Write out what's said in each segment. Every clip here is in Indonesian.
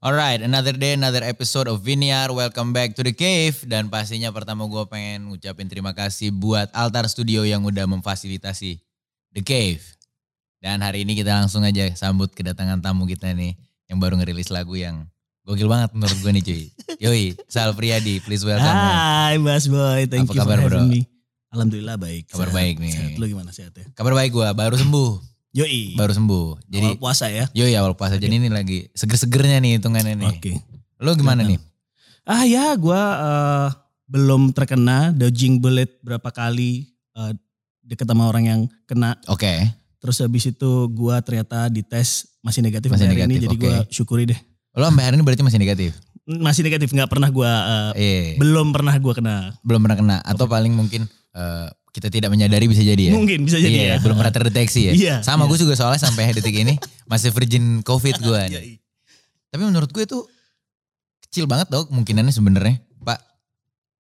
Alright, another day, another episode of Vinyar. Welcome back to the cave. Dan pastinya pertama gue pengen ngucapin terima kasih buat Altar Studio yang udah memfasilitasi The Cave. Dan hari ini kita langsung aja sambut kedatangan tamu kita nih yang baru ngerilis lagu yang gokil banget menurut gue nih cuy. Yoi, Sal Priadi, please welcome. man. Hai Mas Boy, Apa thank you kabar, for having bro? me. Alhamdulillah baik. Kabar Sehat. baik nih. Sehat lu gimana sehat ya? Kabar baik gue, baru sembuh, Yoi. baru sembuh. Jadi Jadi puasa ya. yoi awal puasa, jadi ini lagi seger-segernya nih hitungannya nih. Oke. Lo gimana nih? Ah ya, gua eh, belum terkena dodging bullet berapa kali eh, deket sama orang yang kena. Oke, Terus habis itu gua ternyata dites masih negatif Masih sampai hari negatif, ini jadi oke. gua syukuri deh. lo sampai hari ini berarti masih negatif? Masih negatif nggak pernah gua eh, Eh. belum pernah gua kena. belum pernah kena atau paling mungkin eh, kita tidak menyadari bisa jadi ya. Mungkin bisa jadi Iya, ya. belum pernah terdeteksi ya. Iya, Sama iya. Iya, gue juga soalnya sampai detik ini masih virgin covid gue. nih. Yoi. Tapi menurut gue itu kecil banget dong kemungkinannya sebenarnya, Pak.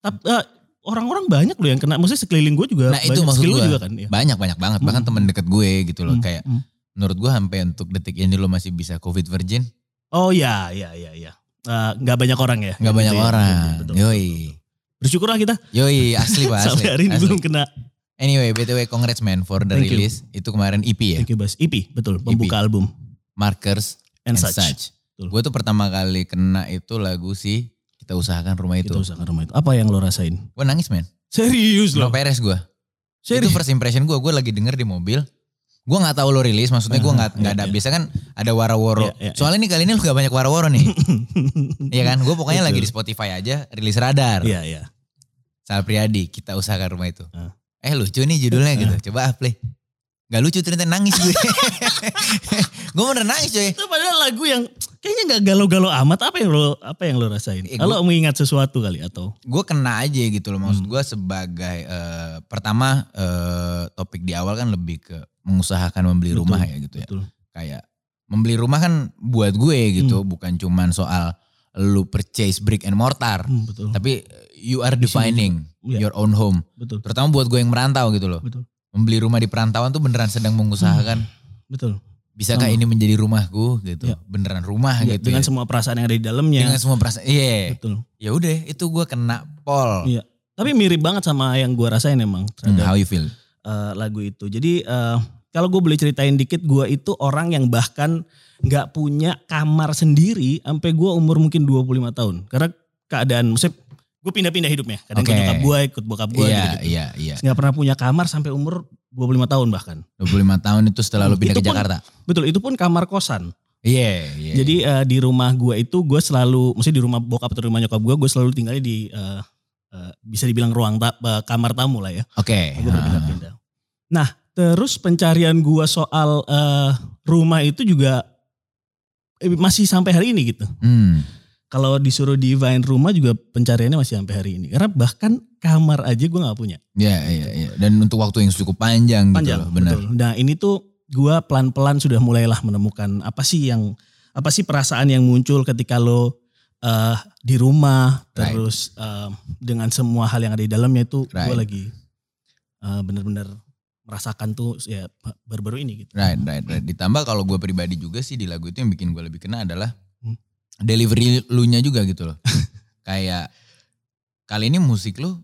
Tap- eh, orang-orang banyak loh yang kena. Maksudnya sekeliling gua juga Nah, itu banyak. maksud Skill lu gua. juga kan. ya. Banyak banyak banget bahkan Mm. teman deket gue gitu loh Hmm, kayak hmm. menurut gue sampai untuk detik ini lo masih bisa covid virgin Oh ya, ya, ya, ya. Eh, Nggak banyak orang ya. nggak banyak Gitu ya. orang. Betul, betul, Yoi. betul, betul. Bersyukurlah kita Yoi asli Pak asli. sampai hari ini asli. belum kena. Anyway, BTW congrats man for the Thank you. release. Itu kemarin EP ya. Thank you, Bas. EP, betul. Pembuka album. Markers And, and such. such. Betul. Gue tuh pertama kali kena itu lagu si kita usahakan rumah itu. Kita usahakan Gitu, rumah itu. Apa yang lo rasain? Gue nangis men. Serius Lo lo? peres gue. Itu Serius? first impression gue. Gue lagi denger di mobil. Gue nggak tahu lo rilis. Maksudnya gue Aha, nggak nggak iya, ada. iya. Biasa kan ada wara-woro. Iya, iya, iya. Soalnya nih kali ini lo gak banyak wara-woro nih. Iya kan? Gue pokoknya lagi di Spotify aja. Rilis radar. Iya, iya. Sal Priadi. Kita usahakan rumah itu. Ah. Eh lucu nih judulnya gitu. Coba ah play. Gak lucu ternyata nangis gue. gue bener nangis coy. Itu padahal lagu yang kayaknya nggak galau-galau amat. Apa yang lo apa yang lo rasain? Eh, Kalau mengingat sesuatu kali atau? gue kena aja gitu loh maksud Hmm. gue sebagai eh, pertama eh, topik di awal kan lebih ke mengusahakan membeli Betul, rumah ya gitu ya Betul. kayak membeli rumah kan buat gue Hmm. gitu bukan cuman soal lu purchase brick and mortar Hmm, betul. tapi eh, you are Di sini defining juga. Iya. your own home Betul. terutama buat gue yang merantau gitu loh Betul. membeli rumah di perantauan tuh beneran sedang mengusahakan Betul. bisakah Hmm. Sama. ini menjadi rumahku gitu Iya. beneran rumah Iya, gitu dengan ya. semua perasaan yang ada di dalamnya. dengan semua perasaan iya Betul. ya udah itu gue kena pol Iya. Tapi mirip banget sama yang gua rasain emang Hmm, terhadap how you feel eh, lagu itu. Jadi eh, kalau gue boleh ceritain dikit, gue itu orang yang bahkan nggak punya kamar sendiri sampai gue umur mungkin 25 tahun. Karena keadaan, maksudnya gue pindah-pindah hidupnya. Kadang Oke. ikut nyokap gue, ikut bokap gue Iya, gitu. iya, iya. Nggak pernah punya kamar sampai umur 25 tahun bahkan. 25 tahun itu setelah lu Hmm, pindah itu ke pun- Jakarta. Betul, itu pun kamar kosan. Iya, iya. Jadi eh, di rumah gue itu gue selalu, maksudnya di rumah bokap atau di rumah nyokap gue, gue selalu tinggalnya di eh, eh, bisa dibilang ruang ta- eh, kamar tamu lah ya. oke. Gue heeh. berpindah-pindah. Nah, terus pencarian gua soal eh, rumah itu juga eh, masih sampai hari ini gitu. Hmm. Kalau disuruh divine rumah juga pencariannya masih sampai hari ini. Karena bahkan kamar aja gua nggak punya. Iya, iya, iya. Dan untuk waktu yang cukup panjang, gitu Panjang, loh, benar. betul. Nah, ini tuh gua pelan-pelan sudah mulailah menemukan apa sih yang apa sih perasaan yang muncul ketika lo eh, di rumah Right. terus eh, dengan semua hal yang ada di dalamnya itu gua Right. lagi eh, bener-bener merasakan tuh ya baru-baru ini gitu. Right, right, right. Ditambah kalau gue pribadi juga sih di lagu itu yang bikin gue lebih kena adalah Hmm. delivery lu-nya juga gitu loh. Kayak kali ini musik lu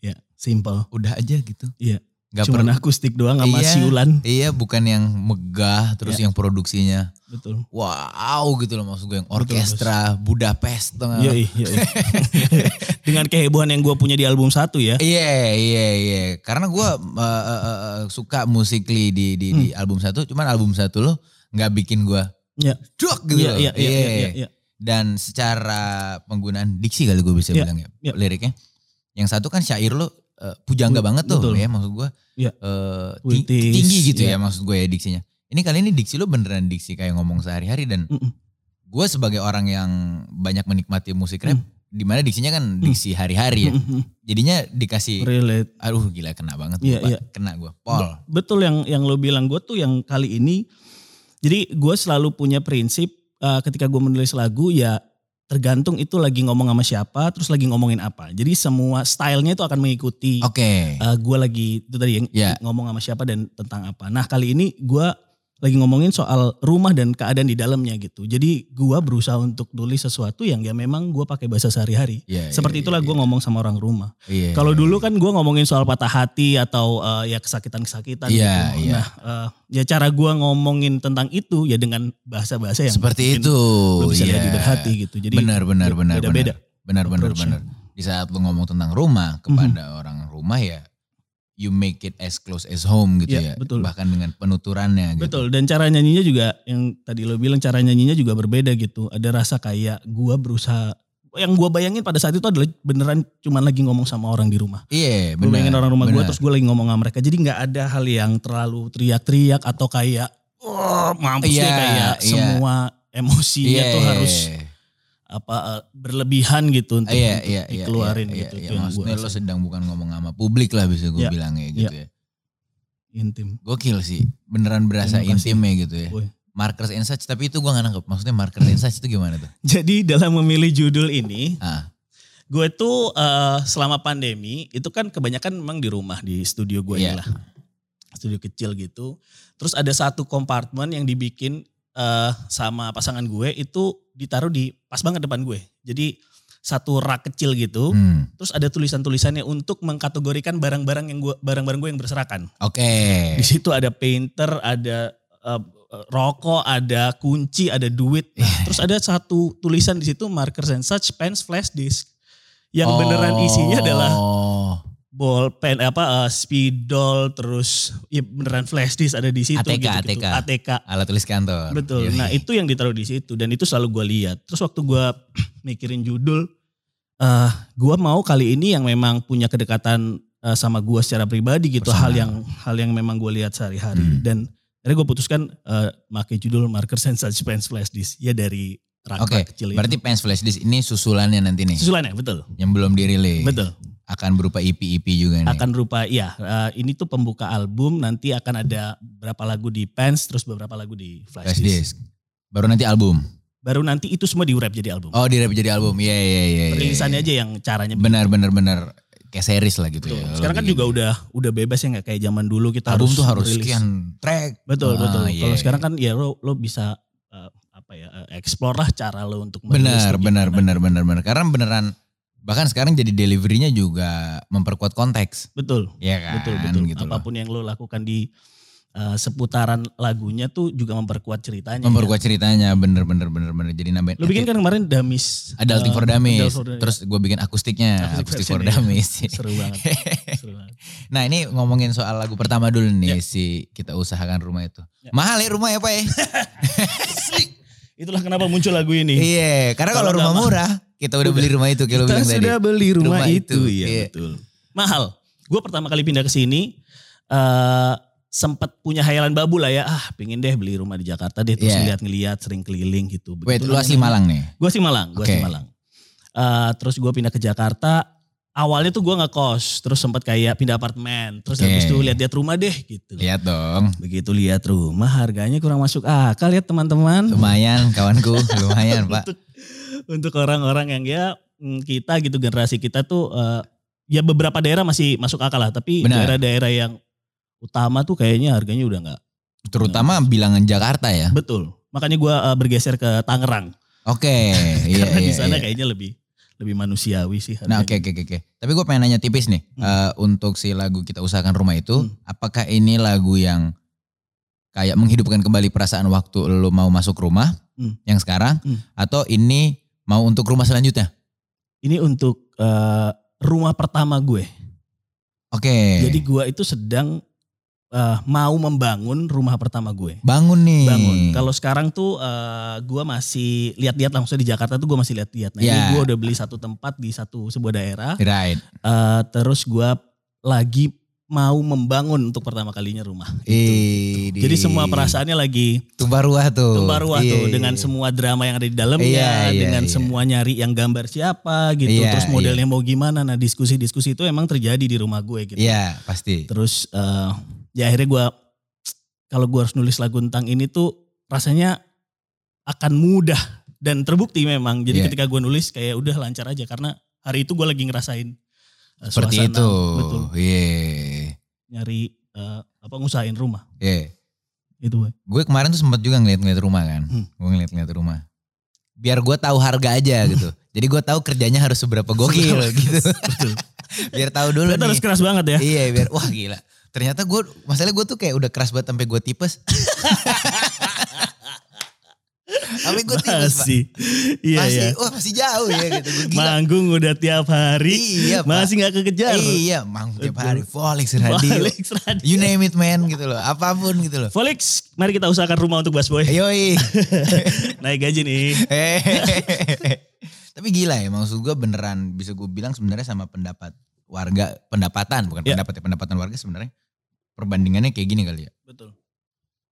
Ya, simple. udah aja gitu. Iya. Gak Cuman pernah. akustik doang sama Iya. siulan. Iya, bukan yang megah terus Iya. yang produksinya Betul. wow gitu loh maksud gue yang Betul, Bos. orkestra Budapest tengah. Iya, iya, iya. Dengan kehebohan yang gue punya di album satu ya. Iya iya iya karena eh, gue suka musikly di di, di Hmm. album satu cuman album satu lo nggak bikin gue Iya. druk gitu Iya, loh. iya, iya, Iya. iya, iya. dan secara penggunaan diksi kali gue bisa Iya, bilang ya iya. liriknya yang satu kan syair lo eh, pujangga Betul, banget tuh betul. ya maksud gue Iya. eh, ti- Puitis, tinggi gitu ya iya. maksud gue ya diksinya ini kali ini diksi lo beneran diksi kayak ngomong sehari-hari dan Mm-mm. gue sebagai orang yang banyak menikmati musik Hmm. rap dimana diksinya kan diksi hari-hari ya Mm-mm. jadinya dikasih Relate. Aduh gila kena banget Iya, gua, Pak. iya. Kena gue. Pol. Betul yang yang lo bilang gue tuh yang kali ini. Jadi gue selalu punya prinsip eh, ketika gue menulis lagu ya tergantung itu lagi ngomong sama siapa, terus lagi ngomongin apa. Jadi semua stylenya itu akan mengikuti Oke. Eh, gue lagi itu tadi yang Ya. ngomong sama siapa dan tentang apa. Nah kali ini gue lagi ngomongin soal rumah dan keadaan di dalamnya gitu. Jadi gua berusaha untuk tulis sesuatu yang ya memang gua pakai bahasa sehari-hari. Iya, iya, Seperti itulah iya, gua ngomong sama orang rumah. Iya. Kalau dulu kan gue ngomongin soal patah hati atau eh, ya kesakitan-kesakitan Iya, gitu. iya. Nah, eh, ya cara gue ngomongin tentang itu ya dengan bahasa-bahasa yang seperti mungkin itu. belum bisa iya. lihat di berhati gitu. Jadi benar benar be- benar beda-beda benar benar benar approach-nya. Mhm. benar. Di saat lu ngomong tentang rumah kepada orang rumah ya you make it as close as home gitu ya. Iya, betul. Bahkan dengan penuturannya gitu. Betul. Dan cara nyanyinya juga yang tadi lo bilang cara nyanyinya juga berbeda gitu. Ada rasa kayak gue berusaha yang gue bayangin pada saat itu adalah beneran cuman lagi ngomong sama orang di rumah. Iya, Gue benar. bayangin orang rumah gue benar. terus gue lagi ngomong sama mereka. Jadi nggak ada hal yang terlalu teriak-teriak atau kayak "Wah, mampus deh," Iya, kayak iya. semua emosinya Iya, tuh iya, harus iya. apa eh, berlebihan gitu untuk, Iya, untuk iya, iya, dikeluarin iya, gitu iya, itu yang gue maksudnya lo sedang bukan ngomong sama publik lah bisa gue Iya, bilang ya gitu ya. intim. Gokil sih, beneran berasa Terima kasih. intim ya gitu ya. Woy. Markers and such, tapi itu gue gak nangkep. Maksudnya markers and such itu gimana tuh? Jadi dalam memilih judul ini, Ah, gue tuh eh, selama pandemi itu kan kebanyakan memang di rumah di studio gue Iya. inilah, studio kecil gitu. Terus ada satu kompartemen yang dibikin eh, sama pasangan gue itu ditaruh di pas banget depan gue. Jadi satu rak kecil gitu. hmm, Terus ada tulisan-tulisannya untuk mengkategorikan barang-barang yang gue barang-barang gue yang berserakan. oke. Di situ ada painter, ada eh, rokok, ada kunci, ada duit. Nah, terus ada satu tulisan di situ markers and such, pens, flash disk. Yang beneran isinya adalah Oh, bolpen apa eh, spidol terus ya beneran flash disk ada di situ ATK, gitu-gitu. ATK. alat tulis kantor. Iya, Betul. Yoi. Nah, itu yang ditaruh di situ dan itu selalu gue lihat. Terus waktu gue mikirin judul eh gue mau kali ini yang memang punya kedekatan eh, sama gue secara pribadi gitu, Personal. hal yang hal yang memang gue lihat sehari-hari Hmm. dan akhirnya gue putuskan eh pakai judul Marker and Suspense Flash Disk ya dari rak Oke, kecil ini. berarti pens flash disk ini susulannya nanti nih susulannya betul. yang belum dirilis. Betul. Akan berupa E EP-EP juga nih. Akan rupa iya, eh, ini tuh pembuka album nanti akan ada berapa lagu di pens terus beberapa lagu di flash, flash disk. disk. Baru nanti album. Baru nanti itu semua di-wrap jadi album. Oh, dirap jadi album. Iya, iya, iya. iya, Rilisannya iya. aja yang caranya Benar, benar, benar. Kayak series lah gitu Betul. ya. Sekarang kan juga udah udah bebas ya nggak kayak zaman dulu kita album harus tuh harus rilis. sekian track. Betul Ah, betul. iya, Kalau iya. sekarang kan ya lo lo bisa eh, apa ya eh, explore lah cara lo untuk Nah, Benar, lo benar, gimana. benar, benar, benar. Karena beneran bahkan sekarang jadi deliverynya juga memperkuat konteks, Betul ya kan? betul betul. Gitu loh. Apapun yang lo lakukan di eh, seputaran lagunya tuh juga memperkuat ceritanya. Memperkuat ceritanya, bener, bener, bener, bener. Jadi nambahin. Ya. Lo ya. bikin kan kemarin Damis. Adulting eh, for Dummies. Adult for Dummies. Terus gue bikin akustiknya, akustik Acoustic version for ya. Dummies. seru banget. seru banget. nah ini ngomongin soal lagu pertama dulu nih si kita usahakan rumah itu. Ya. Mahal ya rumah ya Pak ya? Itulah kenapa muncul lagu ini. Iya, karena Kalau kalau rumah nggak murah kita udah, Udah. beli rumah itu kalau kita bilang tadi. sudah beli rumah, Rumah itu, itu, ya iya. betul. Mahal. Gue pertama kali pindah ke sini eh sempat punya hayalan babu lah ya. Ah, pingin deh beli rumah di Jakarta deh terus Iya. ngeliat-ngeliat, sering keliling gitu. Wait, lu asli Malang nih? Gue asli Malang, gue asli Oke. Malang. Eh, terus gue pindah ke Jakarta. Awalnya tuh gue nggak kos, terus sempat kayak pindah apartemen. Terus Oke. Iya. habis itu lihat-lihat rumah deh gitu. Lihat dong, Begitu lihat rumah harganya kurang masuk akal ya teman-teman. lumayan kawanku, lumayan Pak. untuk untuk orang-orang yang ya mm, kita gitu generasi kita tuh eh, ya beberapa daerah masih masuk akal lah tapi Benar. daerah-daerah yang utama tuh kayaknya harganya udah nggak Terutama bilangan Jakarta ya. betul makanya gua eh, bergeser ke Tangerang Oke, iya, karena iya, di sana iya. kayaknya lebih lebih manusiawi sih Nah, harganya. oke, oke, oke. oke. Tapi gue pengen nanya tipis nih, Hmm. Eh, untuk si lagu kita usahakan rumah itu, Hmm. apakah ini lagu yang kayak menghidupkan kembali perasaan waktu lo mau masuk rumah Hmm. yang sekarang, Hmm. atau ini mau untuk rumah selanjutnya? ini untuk eh, rumah pertama gue Oke, jadi gua itu sedang eh, mau membangun rumah pertama gue bangun nih. bangun. Kalau sekarang tuh eh, gua masih lihat-lihat langsung di Jakarta tuh gua masih lihat-lihat. Nah, ini Ya. gua udah beli satu tempat di satu sebuah daerah. Right. Eh, terus gua lagi mau membangun untuk pertama kalinya rumah. Ih, di- Gitu. Jadi semua perasaannya lagi tumpah ruah tuh. tumpah ruah Iya, tuh iya, dengan iya. semua drama yang ada di dalamnya, Iya, iya, dengan iya. semua nyari yang gambar siapa gitu. Iya, terus modelnya mau gimana? Nah, diskusi-diskusi itu emang terjadi di rumah gue gitu. Iya, pasti. Terus eh, ya akhirnya gue kalau gue harus nulis lagu tentang ini tuh rasanya akan mudah dan terbukti memang. Jadi Iya. ketika gue nulis kayak udah lancar aja karena hari itu gue lagi ngerasain eh, Seperti suasana, itu. betul Iya. nyari eh, apa ngusahain rumah. Iya. itu boy. Gue kemarin tuh sempat juga ngeliat-ngeliat rumah kan. Hmm. Gue ngeliat-ngeliat rumah. Biar gue tahu harga aja gitu. Jadi gue tahu kerjanya harus seberapa gokil gitu. Betul. Biar tahu dulu Ternyata harus nih. keras banget ya. Iya biar wah gila. Ternyata gue masalah gue tuh kayak udah keras banget sampai gue tipes. sampai gue tipes pak. Masih. Iya masih, iya. wah masih jauh ya gitu. Gua gila. Manggung udah tiap hari. Iya pak. Masih nggak kekejar. Iya, manggung tiap hari. Volix Radio. Felix Raditya. You name it man gitu loh. Apapun gitu loh. Felix, mari kita usahakan rumah untuk Bas Boy. Yoi. Naik gaji nih. Hehehe. Tapi gila ya maksud gue beneran bisa gue bilang sebenarnya sama pendapat warga pendapatan bukan Ya. pendapat ya pendapatan warga sebenarnya perbandingannya kayak gini kali ya. Betul.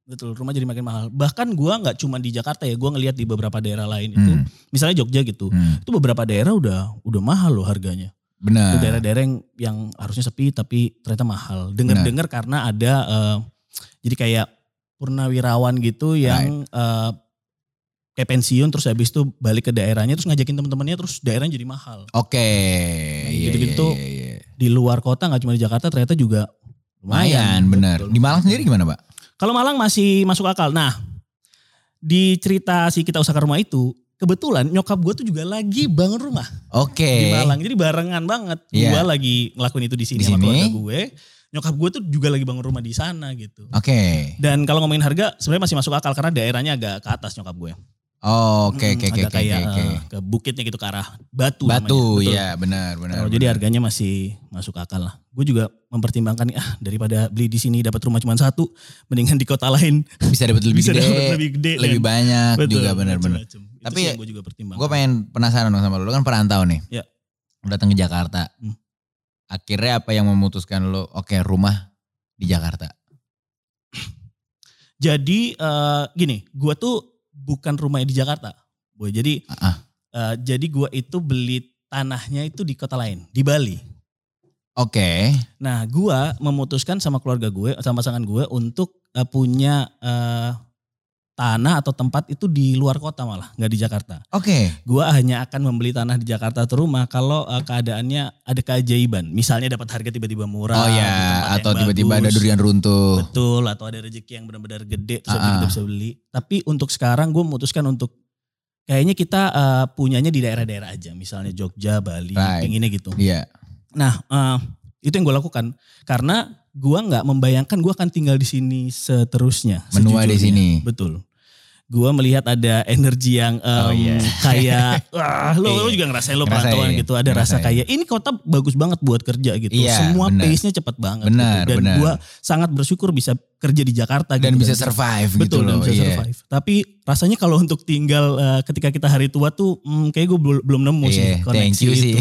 Betul, rumah jadi makin mahal. Bahkan gua nggak cuma di Jakarta ya, gua ngelihat di beberapa daerah lain itu, Hmm, misalnya Jogja gitu. hmm. Itu beberapa daerah udah udah mahal loh harganya. Itu Benar. daerah-daerah yang, yang harusnya sepi tapi ternyata mahal. Nah. Dengar-dengar karena ada eh, jadi kayak purnawirawan gitu yang eh, kayak pensiun terus habis itu balik ke daerahnya terus ngajakin teman-temannya terus daerahnya jadi mahal. Oke. Nah, Iya, gitu-gitu. iya, iya, iya. Di luar kota nggak cuma di Jakarta ternyata juga Lumayan benar. Betul. Di Malang sendiri gimana pak? Kalau Malang masih masuk akal. Nah, di cerita si kita usaha rumah itu, kebetulan nyokap gue tuh juga lagi bangun rumah Oke. di Malang. Jadi barengan banget. Iya. Gue lagi ngelakuin itu di sini Di sama sini. keluarga gue. Nyokap gue tuh juga lagi bangun rumah di sana gitu. Oke. Dan kalau ngomongin harga sebenarnya masih masuk akal karena daerahnya agak ke atas nyokap gue. Oke oke oke Hmm, agak oke kayak oke. eh, ke bukitnya gitu ke arah Batu. Batu namanya. Betul. ya benar benar. Kalau jadi benar. harganya masih masuk akal lah. Gue juga mempertimbangkan nih, ah daripada beli di sini dapat rumah cuma satu, mendingan di kota lain bisa Eh, dapat lebih bisa gede, dapat lebih gede. lebih kan? banyak Betul, juga benar-benar. macem-macem. Itu Tapi sih ya, yang gue juga pertimbangkan. Gue pengen penasaran dong sama lo, lo kan perantau nih. Iya. Lo datang ke Jakarta. Hmm. Akhirnya apa yang memutuskan lo, oke rumah di Jakarta. Jadi eh, gini, gue tuh bukan rumahnya di Jakarta. Boy. Jadi Ah, eh, jadi gue itu beli tanahnya itu di kota lain, di Bali. Oke, Nah, gue memutuskan sama keluarga gue, sama pasangan gue untuk eh, punya eh, tanah atau tempat itu di luar kota malah, nggak di Jakarta. oke. Gue hanya akan membeli tanah di Jakarta atau rumah kalau eh, keadaannya ada keajaiban. Misalnya dapat harga tiba-tiba murah. Oh di ya, tempat yang atau tiba-tiba ada bagus. durian runtuh. Betul, atau ada rezeki yang benar-benar gede terus Ah, habis itu ah. kita bisa beli. Tapi untuk sekarang gue memutuskan untuk kayaknya kita eh, punyanya di daerah-daerah aja, misalnya Jogja, Bali, Right. pinginnya gitu. Iya, Nah, eh, itu yang gue lakukan karena gue nggak membayangkan gue akan tinggal di sini seterusnya. menua di sejujurnya. sini. Betul. Gue melihat ada energi yang em, Oh, iya. kayak, wah lo, Iya. lo juga ngerasain lo Ngerasain, perantauan gitu. Ada rasa ngerasain. kayak, ini kota bagus banget buat kerja gitu. Iya, Semua benar. pace-nya cepat banget. Benar, gitu. Dan benar. gue sangat bersyukur bisa kerja di Jakarta. Dan gitu bisa kan. survive gitu Betul, dan loh. bisa iya. survive. Tapi rasanya kalau untuk tinggal eh, ketika kita hari tua tuh, hmm, kayak gue belum, belum nemu sih Iya, thank you itu. sih.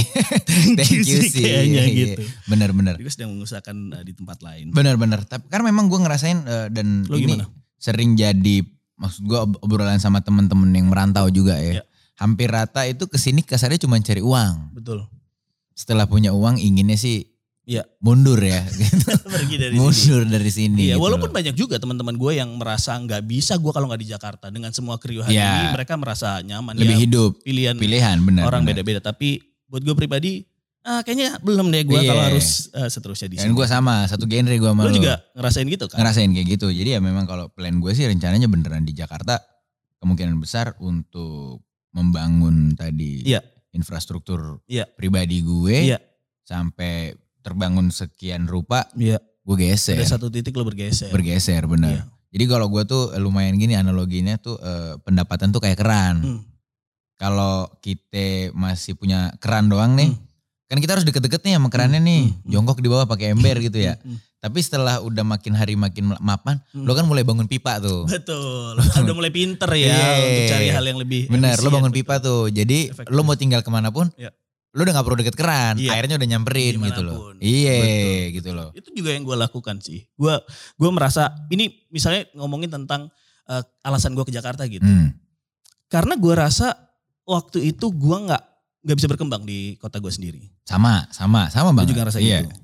Thank you sih kayaknya Iya, iya. gitu. Bener-bener. Gue sedang mengusahakan eh, di tempat lain. Benar-benar. Tapi karena memang gue ngerasain eh, dan Lo ini gimana? sering jadi maksud gue ob- obrolan sama temen-temen yang merantau juga ya. Ya. Hampir rata itu kesini kasarnya cuma cari uang. Betul. Setelah punya uang inginnya sih Ya. mundur ya. gitu. Pergi dari sini. mundur dari sini. Iya, gitu walaupun loh. banyak juga teman-teman gue yang merasa nggak bisa gue kalau nggak di Jakarta dengan semua keriuhan Iya. ini mereka merasa nyaman lebih ya, hidup pilihan pilihan benar. orang benar. beda-beda tapi buat gue pribadi ah, kayaknya belum deh gue Iya. kalau harus eh, seterusnya di Dan sini. gue sama satu genre gue sama Lu lo. juga ngerasain gitu kan? ngerasain kayak gitu. Jadi ya memang kalau plan gue sih rencananya beneran di Jakarta kemungkinan besar untuk membangun tadi Iya. infrastruktur Iya. pribadi gue Iya. sampai terbangun sekian rupa Iya. gue geser Ada satu titik lo bergeser. bergeser Iya. bener. Jadi kalau gue tuh lumayan gini analoginya tuh eh, pendapatan tuh kayak keran. Hmm. Kalau kita masih punya keran doang nih, Hmm. kan kita harus deket-deket nih sama kerannya nih, Hmm. jongkok di bawah pakai ember gitu ya. Hmm. Tapi setelah udah makin hari makin mapan, Hmm. lo kan mulai bangun pipa tuh. Betul. Udah mulai pinter ya Iya. untuk cari hal yang lebih. Bener, lo efisien. bangun pipa tuh. Jadi Iya, Efektif. lo mau tinggal kemana pun, Iya. lo udah gak perlu deket keran, Iya. airnya udah nyamperin gitu loh. Dimanapun. Iya, Betul, gitu loh. itu juga yang gue lakukan sih gue gue merasa ini misalnya ngomongin tentang eh, alasan gue ke Jakarta gitu Hmm. karena gue rasa waktu itu gue nggak nggak bisa berkembang di kota gue sendiri Sama, sama, sama gue banget. juga ngerasa iya. gitu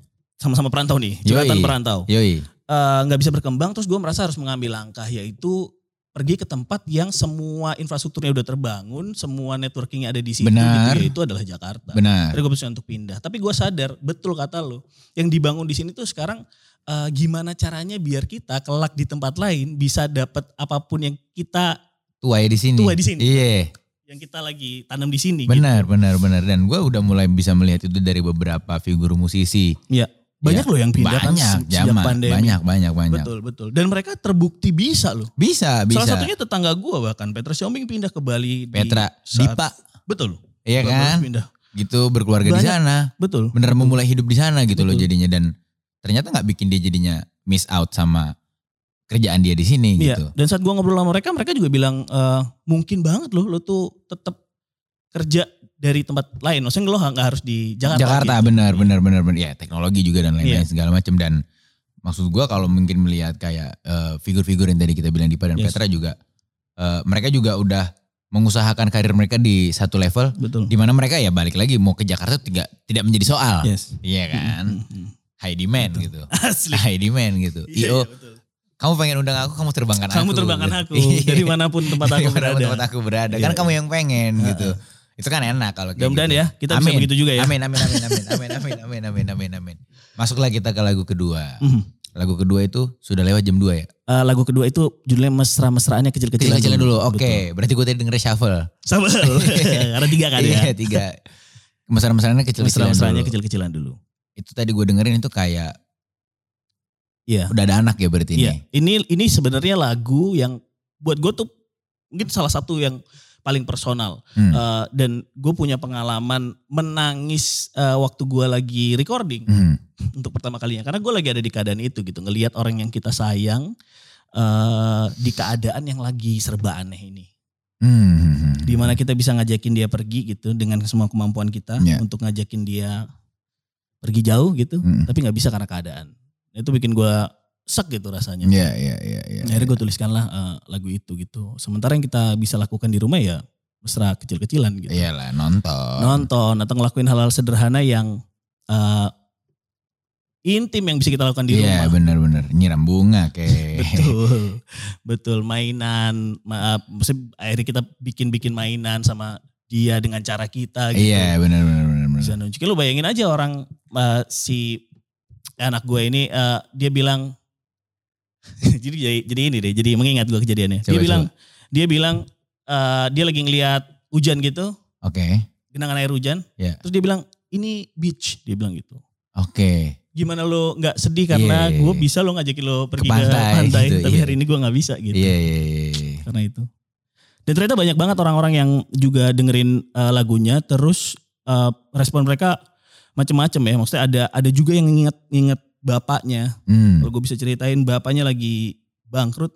sama-sama perantau nih jabatan Yoi. perantau Yoi. Eh, nggak bisa berkembang terus gue merasa harus mengambil langkah yaitu pergi ke tempat yang semua infrastrukturnya udah terbangun semua networkingnya ada di situ Benar. gitu, yaitu adalah Jakarta Benar. Akhirnya gue putuskan untuk pindah. Tapi gue sadar, betul kata lo, yang dibangun di sini tuh sekarang eh, gimana caranya biar kita kelak di tempat lain bisa dapat apapun yang kita Tua ya di sini. Tua di sini. Iya. yang kita lagi tanam di sini. gitu. Benar, benar, benar. Dan gue udah mulai bisa melihat itu dari beberapa figur musisi. Banyak loh yang pindah iya. kan Banyak, se- sejak zaman. pandemi. Banyak, banyak, banyak. Betul, betul. Dan mereka terbukti bisa loh. Bisa, bisa. Salah satunya tetangga gua bahkan Petra Siombing pindah ke Bali di- Petra, saat- Dipa, Betul. iya Baru kan? Pindah. Gitu berkeluarga di Banyak. sana. Betul. Bener memulai hidup di sana gitu loh Betul. jadinya dan ternyata nggak bikin dia jadinya miss out sama kerjaan dia di sini Iya. gitu. Dan saat gua ngobrol sama mereka, mereka juga bilang "Eh, mungkin banget loh lo tuh tetap kerja dari tempat lain. Maksudnya lo nggak harus di Jakarta. Jakarta gitu. Iya. benar benar benar benar ya teknologi juga dan lain-lain segala macam dan maksud gua kalau mungkin melihat kayak eh, figur-figur yang tadi kita bilang Dipa dan Yes. Petra juga eh, mereka juga udah mengusahakan karir mereka di satu level Betul. di mana mereka ya balik lagi mau ke Jakarta tidak tidak menjadi soal Yes. iya kan Mm-mm. high demand Betul. gitu Asli. high demand gitu Iya, io iya, betul. kamu pengen undang aku kamu terbangkan aku Kamu terbangkan aku Iya. dari manapun tempat Dari aku mana berada. tempat aku berada Iya, kan iya. kamu yang pengen Ha-ha. gitu itu kan enak kalau kayak Mudah-mudahan gitu. ya kita bisa Amin. begitu juga ya. Amin, amin, amin, amin, amin, amin, amin, amin, amin, amin. Masuklah kita ke lagu kedua. Mhm. Lagu kedua itu sudah lewat jam 2 ya? Eh, lagu kedua itu judulnya mesra-mesraannya kecil-kecilan. Kecil-kecilnya dulu, oke. Berarti gue tadi denger shuffle. Betul. Sama. Karena tiga kan ya. Iya, tiga. Mesra-mesraannya kecil-kecilan Mesra-mesraannya dulu. kecil-kecilan dulu. Itu tadi gue dengerin itu kayak Iya. udah ada anak ya berarti Iya. ini. Ini ini sebenarnya lagu yang buat gue tuh mungkin salah satu yang paling personal Hmm. Eh, dan gue punya pengalaman menangis eh, waktu gue lagi recording Hmm. untuk pertama kalinya karena gue lagi ada di keadaan itu gitu ngelihat orang yang kita sayang eh di keadaan yang lagi serba aneh ini Hmm. di mana kita bisa ngajakin dia pergi gitu dengan semua kemampuan kita Iya. untuk ngajakin dia pergi jauh gitu Hmm. tapi nggak bisa karena keadaan itu bikin gue sek gitu rasanya Iya, iya, iya. iya. Nah, akhirnya gue tuliskanlah eh, lagu itu gitu sementara yang kita bisa lakukan di rumah ya mesra kecil-kecilan gitu Iyalah, nonton. nonton atau ngelakuin hal-hal sederhana yang eh, intim yang bisa kita lakukan di Iya, rumah bener-bener. Nyiram bunga kayak. betul betul mainan maaf maksudnya akhirnya kita bikin-bikin mainan sama dia dengan cara kita gitu Iya, bener-bener. bener-bener. bisa nunjukin lu bayangin aja orang eh, si anak gue ini eh, dia bilang jadi jadi- jadi ini deh jadi mengingat gue kejadiannya dia Coba, bilang dia bilang eh, dia lagi ngelihat hujan gitu Oke, genangan air hujan Iya. terus dia bilang ini beach dia bilang gitu oke. gimana lo nggak sedih karena Iya, iya, gue iya. bisa lo ngajakin lo pergi ke pantai, pantai gitu, tapi iya. hari ini gue nggak bisa gitu Iya, iya, iya, iya. karena itu. Dan ternyata banyak banget orang-orang yang juga dengerin eh, lagunya terus eh, respon mereka macem-macem ya. Maksudnya ada ada juga yang nginget-nginget bapaknya. Hmm. Kalau gue bisa ceritain bapaknya lagi bangkrut,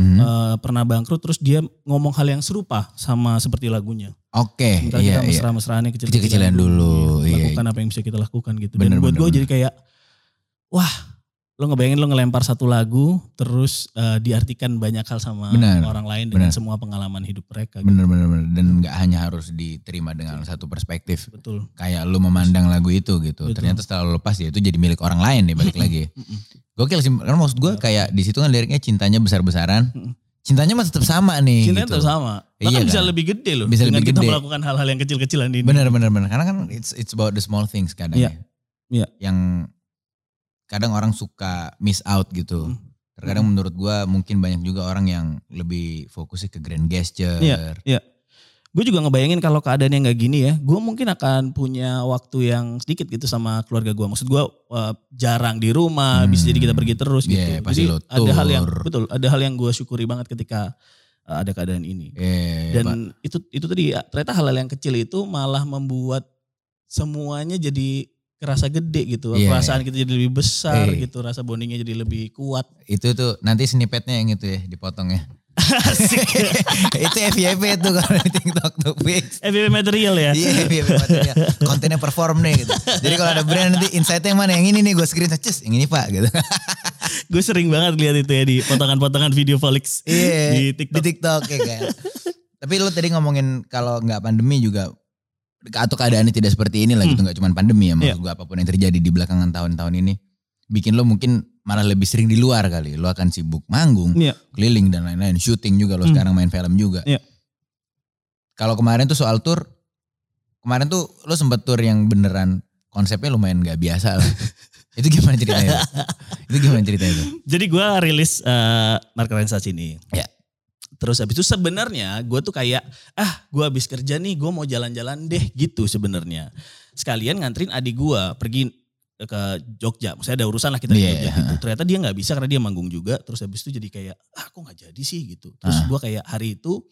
Hmm. eh, pernah bangkrut terus dia ngomong hal yang serupa sama seperti lagunya. Oke, Sementara iya, kita iya. mesra-mesraannya Kecil-kecilan kecil-kecilan gitu. dulu, iya. Lakukan kan apa yang bisa kita lakukan gitu. Bener, Dan buat bener, gue jadi kayak wah lo ngebayangin lo ngelempar satu lagu terus eh, diartikan banyak hal sama Bener, orang lain dengan bener. semua pengalaman hidup mereka. gitu. Bener, bener, bener. Dan nggak hanya harus diterima dengan Iya. satu perspektif. Betul. Kayak lu memandang lagu itu gitu. Betul. Ternyata setelah lu lepas ya itu jadi milik orang lain deh balik lagi. Mm-mm. Gokil sih. Karena maksud Iya. gue kayak di situ kan liriknya cintanya besar-besaran. Mm. Cintanya masih tetap sama nih. Cintanya gitu. tetap sama. Bahkan Iya bisa kan? lebih gede loh. Bisa dengan lebih kita gede. melakukan hal-hal yang kecil-kecilan ini. Bener, bener, bener. Karena kan it's, it's about the small things kadang Gitu. Iya. ya. Iya. Yang kadang orang suka miss out gitu. Mm. Terkadang menurut gua mungkin banyak juga orang yang lebih fokusnya ke grand gesture. Iya. Gue juga ngebayangin kalau keadaannya nggak gini ya. Gue mungkin akan punya waktu yang sedikit gitu sama keluarga gue. Maksud gue eh, jarang di rumah. Bisa jadi kita Hmm. pergi terus gitu. Iya, pasti lo jadi ada hal yang tur. betul. Ada hal yang gue syukuri banget ketika eh, ada keadaan ini. Eh, Pak. Dan itu itu tadi ya, ternyata hal-hal yang kecil itu malah membuat semuanya jadi kerasa gede gitu. Iya. Perasaan kita jadi lebih besar Eh. gitu. Rasa bondingnya jadi lebih kuat. itu tuh nanti snippetnya yang itu ya dipotong ya. Asik. itu FYP tuh kalau di TikTok tuh fix. FBB material ya. Iya FYP material. Kontennya perform deh gitu. Jadi kalau ada brand nanti insight-nya yang mana yang ini nih gue screen cus yang ini pak gitu. Gue sering banget lihat itu ya di potongan-potongan video Felix Iya di TikTok. ya kan. Tapi lu tadi ngomongin kalau nggak pandemi juga atau keadaannya tidak seperti ini lah gitu Hmm. nggak cuma pandemi ya maksud Iya. gua apapun yang terjadi di belakangan tahun-tahun ini bikin lo mungkin malah lebih sering di luar kali lo akan sibuk manggung Iya. keliling dan lain-lain syuting juga lo Hmm. sekarang main film juga Iya. kalau kemarin tuh soal tour kemarin tuh lo sempet tour yang beneran konsepnya lumayan nggak biasa lah Itu gimana ceritanya? Bro? itu gimana ceritanya itu? Jadi gue rilis eh Mark Rensas ini. Ya. Terus habis itu sebenarnya gue tuh kayak ah gue habis kerja nih gue mau jalan-jalan deh gitu sebenarnya. Sekalian nganterin adik gue pergi ke Jogja. Saya ada urusan lah kita Iya, di Jogja iya. gitu. Ternyata dia nggak bisa karena dia manggung juga. Terus habis itu jadi kayak ah kok nggak jadi sih gitu. Ah. Terus gue kayak hari itu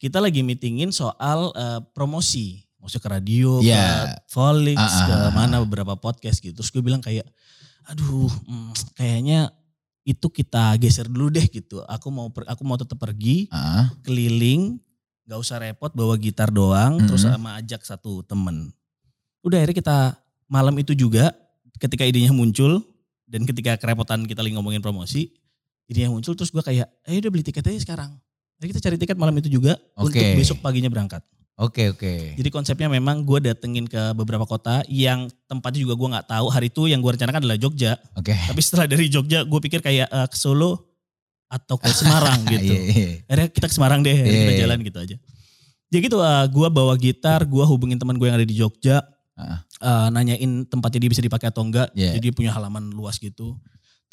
kita lagi meetingin soal eh, promosi. Maksudnya ke radio, Iya. ke Volix, Ah, ah, ke ah, mana beberapa podcast gitu. Terus gue bilang kayak aduh hmm, kayaknya itu kita geser dulu deh gitu. Aku mau per- aku mau tetap pergi Ah, keliling, nggak usah repot bawa gitar doang, Mhm. terus sama ajak satu temen. Udah akhirnya kita malam itu juga ketika idenya muncul dan ketika kerepotan kita lagi ngomongin promosi, idenya muncul terus gua kayak, ayo udah beli tiket aja sekarang. Jadi kita cari tiket malam itu juga untuk Oke. besok paginya berangkat. Oke oke. Jadi konsepnya memang gua datengin ke beberapa kota yang tempatnya juga gua nggak tahu. Hari itu yang gua rencanakan adalah Jogja. Oke. Tapi setelah dari Jogja gue pikir kayak eh, ke Solo atau ke Semarang Iya, gitu. iya. Akhirnya kita ke Semarang deh, akhirnya kita Iya. jalan gitu aja. Jadi gitu eh, gua gue bawa gitar, gue hubungin teman gue yang ada di Jogja. Ah. eh, nanyain tempatnya dia bisa dipakai atau enggak. Iya. Jadi dia punya halaman luas gitu.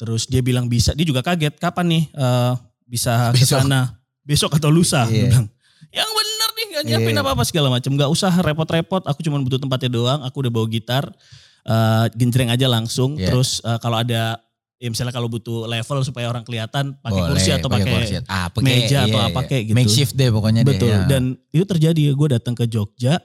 Terus dia bilang bisa, dia juga kaget kapan nih eh, bisa ke Besok. sana. Besok atau lusa Iya. dia bilang. Yang bener nih gak nyiapin Iya. apa-apa segala macam. Gak usah repot-repot, aku cuma butuh tempatnya doang. Aku udah bawa gitar, eh, genjreng aja langsung. Iya. Terus eh, kalau ada, ya misalnya kalau butuh level supaya orang kelihatan pakai Boleh, kursi atau pakai kursi. Ah, pakai, meja atau apa kayak gitu. Makeshift deh pokoknya deh. Betul. ya. Dan itu terjadi. Gue datang ke Jogja.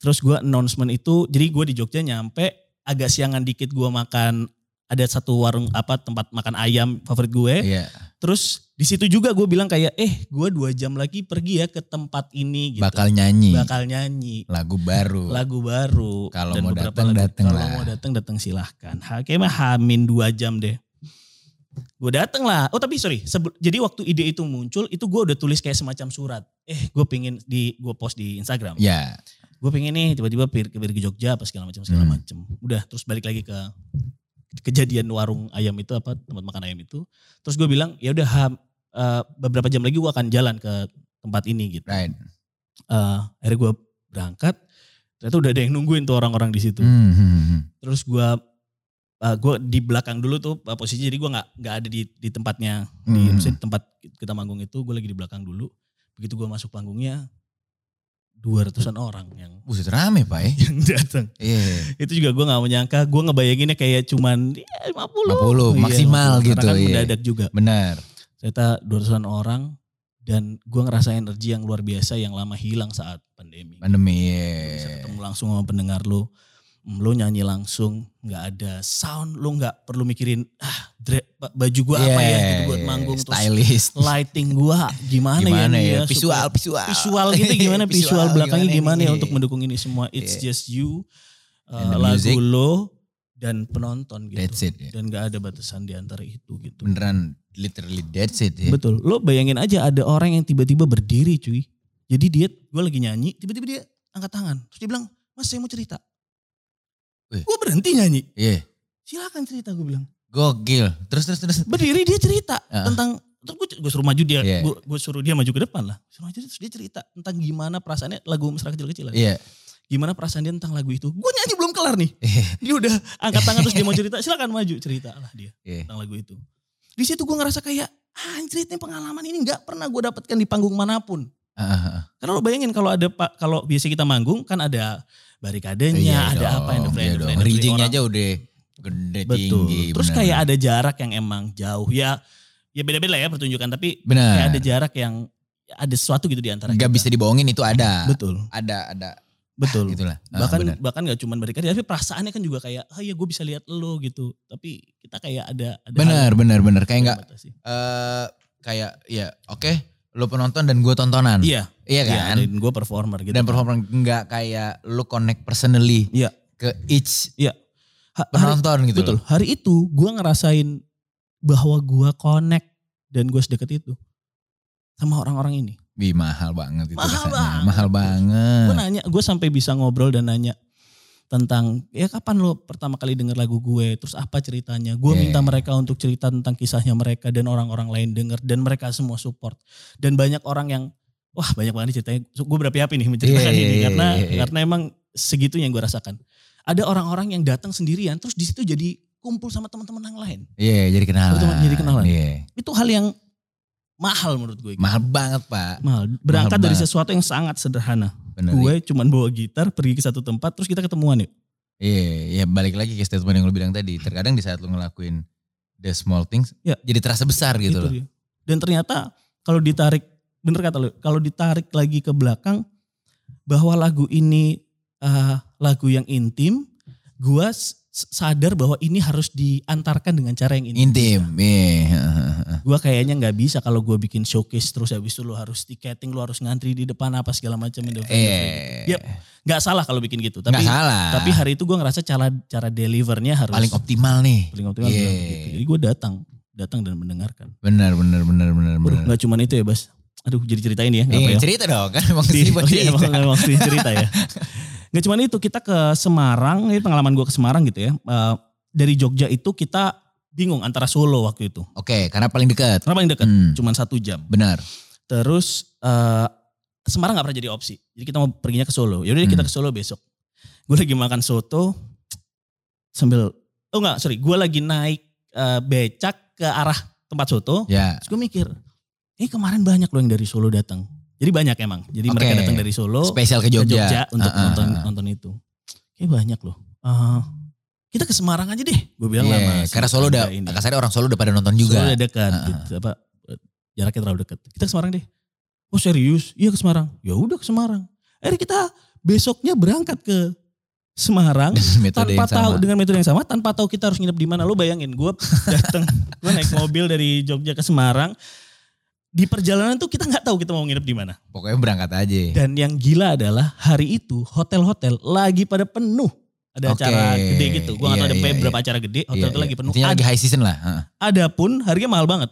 Terus gue announcement itu. Jadi gue di Jogja nyampe. Agak siangan dikit gue makan. Ada satu warung apa tempat makan ayam favorit gue. Iya. Terus di situ juga gue bilang kayak eh gue dua jam lagi pergi ya ke tempat ini gitu. Bakal nyanyi Bakal nyanyi. lagu baru. Lagu baru. Kalau Dan mau beberapa datang, lagu. datang Kalau lah. mau datang datang silahkan. Ha- Kayaknya hamin dua jam deh. Gue dateng lah. Oh tapi sorry. sebe- jadi waktu ide itu muncul itu gue udah tulis kayak semacam surat. Eh gue pengen di gue post di Instagram. Ya. Gue pengen nih tiba-tiba pergi pergi ke Jogja apa segala macam segala Hmm. macam. Udah terus balik lagi ke kejadian warung ayam itu apa tempat makan ayam itu. Terus gue bilang ya udah ha- eh, beberapa jam lagi gue akan jalan ke tempat ini gitu. Right. Eh, akhirnya gue berangkat. Ternyata udah ada yang nungguin tuh orang-orang di situ Hmm, hmm, hmm. terus gua uh, gua di belakang dulu tuh uh, posisi jadi gua nggak nggak ada di di tempatnya di Hmm. Iya, maksudnya di tempat kita manggung itu gua lagi di belakang dulu begitu gua masuk panggungnya 200-an orang yang Buset rame pak ya. yang datang Iya. itu juga gua nggak menyangka gua ngebayanginnya kayak cuman ya, 50 50 Iya, maksimal 50. gitu. karena kan iya. mendadak juga Benar. ternyata 200-an orang dan gua ngerasa energi yang luar biasa yang lama hilang saat pandemi Pandemi. bisa Iya. ketemu langsung sama pendengar lo lo nyanyi langsung nggak ada sound lo nggak perlu mikirin ah dre- ba- baju gua apa ya gitu buat iya, manggung terus Stylist. lighting gua gimana, Gimana ya? nih Visual, supaya- visual. visual gitu gimana visual, belakangnya gimana, ya nih? untuk mendukung ini semua it's Iya. just you And the uh, lagu music. lo dan penonton gitu That's it. ya. dan nggak ada batasan di antara itu gitu Beneran literally that's it ya. betul lo bayangin aja ada orang yang tiba-tiba berdiri cuy jadi dia gue lagi nyanyi tiba-tiba dia angkat tangan terus dia bilang mas saya mau cerita Wih. gue berhenti nyanyi Iya. silakan cerita gue bilang Gokil. Terus terus terus. berdiri dia cerita Ah. tentang terus gue, suruh maju dia Iya. gue, suruh dia maju ke depan lah suruh maju terus dia cerita tentang gimana perasaannya lagu mesra kecil-kecilan Iya. gimana perasaan dia tentang lagu itu gue nyanyi belum kelar nih dia udah angkat tangan terus dia mau cerita silakan maju cerita lah dia Iya. tentang lagu itu di situ gue ngerasa kayak "Ah, anjrit nih pengalaman ini nggak pernah gue dapatkan di panggung manapun Ah, ah, ah. karena lo bayangin kalau ada pak kalau biasa kita manggung kan ada barikadenya ada dong, iya apa yang the friend, the dong. friend, the friend, Rijingnya orang- aja udah gede betul tinggi. terus bener. kayak ada jarak yang emang jauh ya ya beda-beda lah ya pertunjukan tapi benar. kayak ada jarak yang ada sesuatu gitu di antara Gak kita. Nah. bisa dibohongin itu ada. betul Ada ada betul gitulah. Ah, bahkan benar. bahkan nggak cuman barikade tapi perasaannya kan juga kayak ah ya gue bisa lihat lo gitu tapi kita kayak ada ada benar benar benar kayak nggak batasi. eh kayak ya oke lu penonton dan gue tontonan. iya Iya iya, kan? dan gue performer gitu dan performer nggak kayak lu connect personally Iya. ke each Ha- hari- penonton gitu. betul loh. hari itu gue ngerasain bahwa gue connect dan gue sedekat itu sama orang-orang ini Wih, mahal banget itu Mahal rasanya. banget. Mahal banget. gue nanya gue sampai bisa ngobrol dan nanya tentang ya kapan lo pertama kali denger lagu gue terus apa ceritanya gue Yeah. minta mereka untuk cerita tentang kisahnya mereka dan orang-orang lain denger dan mereka semua support dan banyak orang yang wah banyak banget nih ceritanya gue berapi-api nih menceritakan Yeah, ini yeah, karena yeah, yeah. karena emang segitu yang gue rasakan ada orang-orang yang datang sendirian terus di situ jadi kumpul sama teman-teman yang lain. Iya, jadi kenalan. Pertemuan jadi kenalan. Iya. Itu hal yang mahal menurut gue. Mahal banget, Pak. Mahal. Berangkat Mahal dari banget. sesuatu yang sangat sederhana. Bener. Gue cuman bawa gitar pergi ke satu tempat terus kita ketemuan yuk. Iya, ya balik lagi ke statement yang lu bilang tadi. Terkadang di saat lu ngelakuin the small things, Iya. jadi terasa besar gitu Itu loh. dia. Dan ternyata kalau ditarik, bener kata lu, kalau ditarik lagi ke belakang bahwa lagu ini eh, lagu yang intim, gua s- sadar bahwa ini harus diantarkan dengan cara yang intim. Intim, iya. Gua kayaknya nggak bisa kalau gua bikin showcase terus habis itu lu harus tiketing, lu harus ngantri di depan apa segala macam. Iya. Yep. Nggak salah kalau bikin gitu, Ya, tapi Nggak salah. tapi hari itu gua ngerasa cara cara delivernya harus paling optimal nih. paling optimal Iya. bilang begitu. Jadi gua datang, datang dan mendengarkan. Benar, benar, benar, benar, Waduh, benar. nggak cuman itu ya, Bas. Aduh, jadi ceritain ya. nggak apa Iya, ya. cerita dong kan emang Di- sih buat oh iya, cerita. emang- emang sih cerita ya. Gak cuman itu, kita ke Semarang, ini pengalaman gue ke Semarang gitu ya. Eh, dari Jogja itu kita bingung antara Solo waktu itu. Oke, karena paling dekat. Karena paling dekat, Hmm, cuman satu jam. benar. Terus eh, Semarang gak pernah jadi opsi. Jadi kita mau perginya ke Solo. Yaudah kita Hmm. ke Solo besok. Gue lagi makan soto sambil, oh enggak sorry, gue lagi naik eh, becak ke arah tempat soto. Ya. Terus gue mikir, eh kemarin banyak loh yang dari Solo datang. Jadi banyak emang. Jadi mereka Oke. datang dari Solo Oh, ke Spesial ke Jogja, Jogja. untuk Ah, ah, nonton ah. nonton itu. Kayak banyak loh. Ah, kita ke Semarang aja deh. Gue bilang Iya, lama. karena Solo udah, ini. kasarnya orang Solo udah pada nonton juga. Solo udah dekat. Ah, ah. gitu, apa, jaraknya terlalu dekat. Kita ke Semarang deh. Oh serius? Iya ke Semarang. Ya udah ke Semarang. Akhirnya kita besoknya berangkat ke Semarang Metode tanpa yang tahu sama. dengan metode yang sama tanpa tahu kita harus nginep di mana lo bayangin gue datang gue naik mobil dari Jogja ke Semarang di perjalanan tuh kita nggak tahu kita mau nginep di mana Pokoknya berangkat aja. dan yang gila adalah hari itu hotel-hotel lagi pada penuh ada Oke. acara gede gitu gue nggak tahu Iya, ada iya, beberapa iya. acara gede hotel Iya, itu iya. lagi penuh Intinya ada, lagi high season lah. ah. ada pun harganya mahal banget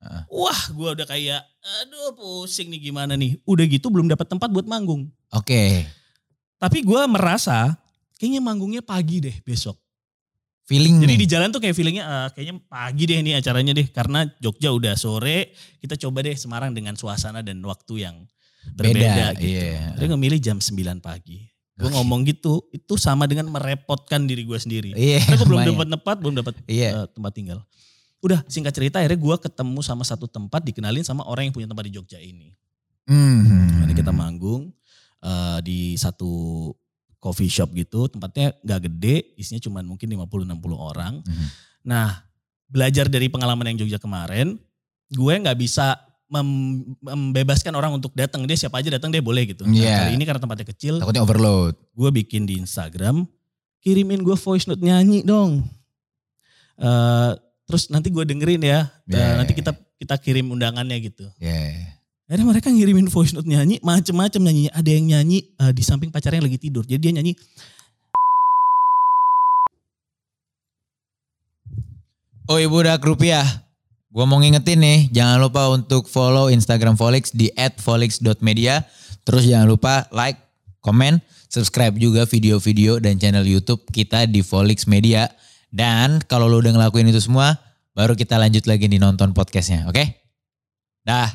Heeh. wah gue udah kayak aduh pusing nih gimana nih udah gitu belum dapat tempat buat manggung Oke. tapi gue merasa kayaknya manggungnya pagi deh besok Feeling Jadi nih. di jalan tuh kayak feelingnya eh, kayaknya pagi deh ini acaranya deh karena Jogja udah sore kita coba deh Semarang dengan suasana dan waktu yang berbeda Beda, gitu. iya. Dia ngemilih jam 9 pagi. Gue Oke. ngomong gitu itu sama dengan merepotkan diri gue sendiri. Iya. Karena gue Kan belum lumayan. dapat tempat, belum dapat Iya. eh, tempat tinggal. Udah singkat cerita akhirnya gue ketemu sama satu tempat dikenalin sama orang yang punya tempat di Jogja ini. Hmm. Jadi kita manggung eh, di satu coffee shop gitu tempatnya nggak gede isinya cuman mungkin 50-60 orang. Mhm. Nah, belajar dari pengalaman yang Jogja kemarin, gue nggak bisa mem- membebaskan orang untuk datang dia siapa aja datang deh boleh gitu. Nah, Iya. kali ini karena tempatnya kecil, Takutnya overload. gue bikin di Instagram, kirimin gue voice note nyanyi dong. Eh, terus nanti gue dengerin ya. Eh, Iya. nanti kita kita kirim undangannya gitu. Iya. Akhirnya mereka ngirimin voice note nyanyi macem-macem nyanyinya. Ada yang nyanyi eh, di samping pacarnya yang lagi tidur. Jadi dia nyanyi. Oi budak rupiah. Gua mau ngingetin nih, jangan lupa untuk follow Instagram Volix di @volix.media. Terus jangan lupa like, komen, subscribe juga video-video dan channel YouTube kita di Volix Media. Dan kalau lu udah ngelakuin itu semua, baru kita lanjut lagi nih nonton podcastnya, oke? Dah.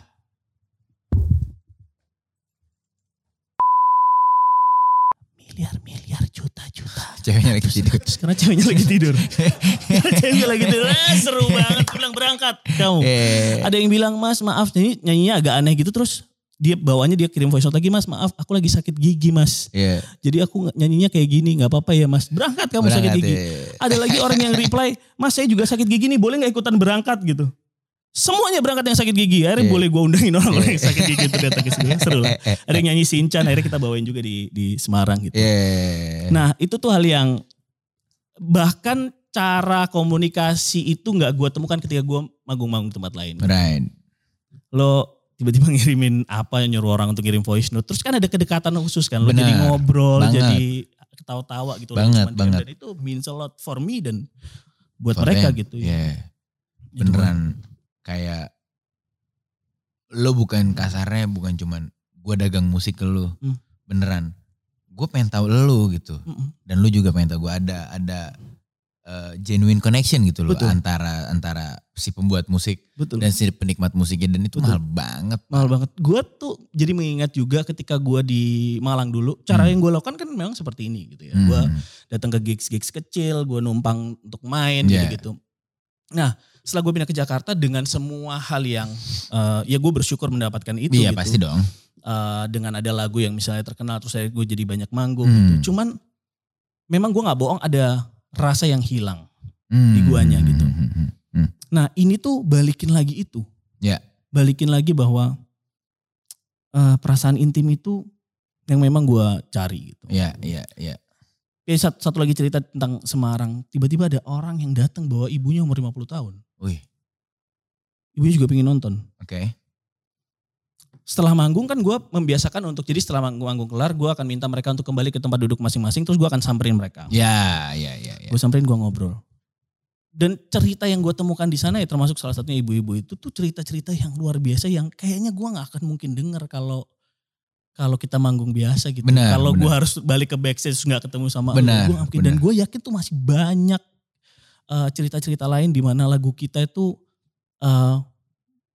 Miliar-miliar juta-juta. Ceweknya lagi tidur. Terus karena ceweknya lagi tidur. Karena ceweknya lagi tidur. Ah, seru banget. Bilang berangkat kamu. Eh, Ada yang bilang mas maaf nyanyi nyanyinya agak aneh gitu terus dia bawaannya dia kirim voice note lagi mas maaf aku lagi sakit gigi mas Iya. jadi aku nge- nyanyinya kayak gini nggak apa-apa ya mas berangkat kamu sakit berangkat, gigi iya. ada lagi orang yang reply mas saya juga sakit gigi nih boleh nggak ikutan berangkat gitu semuanya berangkat yang sakit gigi akhirnya Iya. boleh gue undangin orang orang Iya. yang sakit gigi itu datang ke sini seru lah Eh, eh, ada yang nyanyi sinchan akhirnya kita bawain juga di di Semarang gitu iya. Nah itu tuh hal yang bahkan cara komunikasi itu nggak gua temukan ketika gua manggung-manggung tempat lain. Right. Lo tiba-tiba ngirimin apa nyuruh orang untuk ngirim voice note. Terus kan ada kedekatan khusus kan. Lo Benar, jadi ngobrol, banget. jadi ketawa-tawa gitu. Banget, Cuman DM, banget. Dan itu means a lot for me dan buat For mereka them, gitu. Iya. Gitu. beneran kayak lo bukan kasarnya bukan cuman gue dagang musik ke lo Hmm. beneran gue pengen tahu lo gitu Mm-mm. dan lo juga pengen tahu gue ada ada eh, genuine connection gitu loh Betul. antara antara si pembuat musik Betul. dan si penikmat musiknya dan itu Betul. mahal banget. mahal banget. Gue tuh jadi mengingat juga ketika gue di Malang dulu, cara Hmm. yang gue lakukan kan memang seperti ini gitu ya. Hmm. Gue datang ke gigs-gigs kecil, gue numpang untuk main Yeah. gitu-gitu. Nah, setelah gue pindah ke Jakarta dengan semua hal yang, eh, ya gue bersyukur mendapatkan itu Iya gitu. pasti dong. Eh, dengan ada lagu yang misalnya terkenal, terus akhirnya gue jadi banyak manggung Hmm. gitu. Cuman memang gue nggak bohong ada rasa yang hilang. Hmm. guanya gitu. Hmm, hmm, hmm. Nah ini tuh balikin lagi itu. Ya. Balikin lagi bahwa eh, perasaan intim itu yang memang gua cari gitu. Ya, ya, ya. Oke, sat- satu, lagi cerita tentang Semarang. Tiba-tiba ada orang yang datang bawa ibunya umur 50 tahun. Wih, Ibunya juga pengen nonton. oke. Setelah manggung kan gua membiasakan untuk jadi setelah manggung, manggung kelar gua akan minta mereka untuk kembali ke tempat duduk masing-masing terus gua akan samperin mereka. Ya, ya, ya, ya. Gue samperin gue ngobrol. Dan cerita yang gue temukan di sana ya termasuk salah satunya ibu-ibu itu tuh cerita-cerita yang luar biasa yang kayaknya gue nggak akan mungkin dengar kalau kalau kita manggung biasa gitu. Benar, kalau gue benar. harus balik ke backstage terus nggak ketemu sama Benar, lu, gua nggak mungkin. Dan gue yakin tuh masih banyak eh, cerita-cerita lain di mana lagu kita itu eh,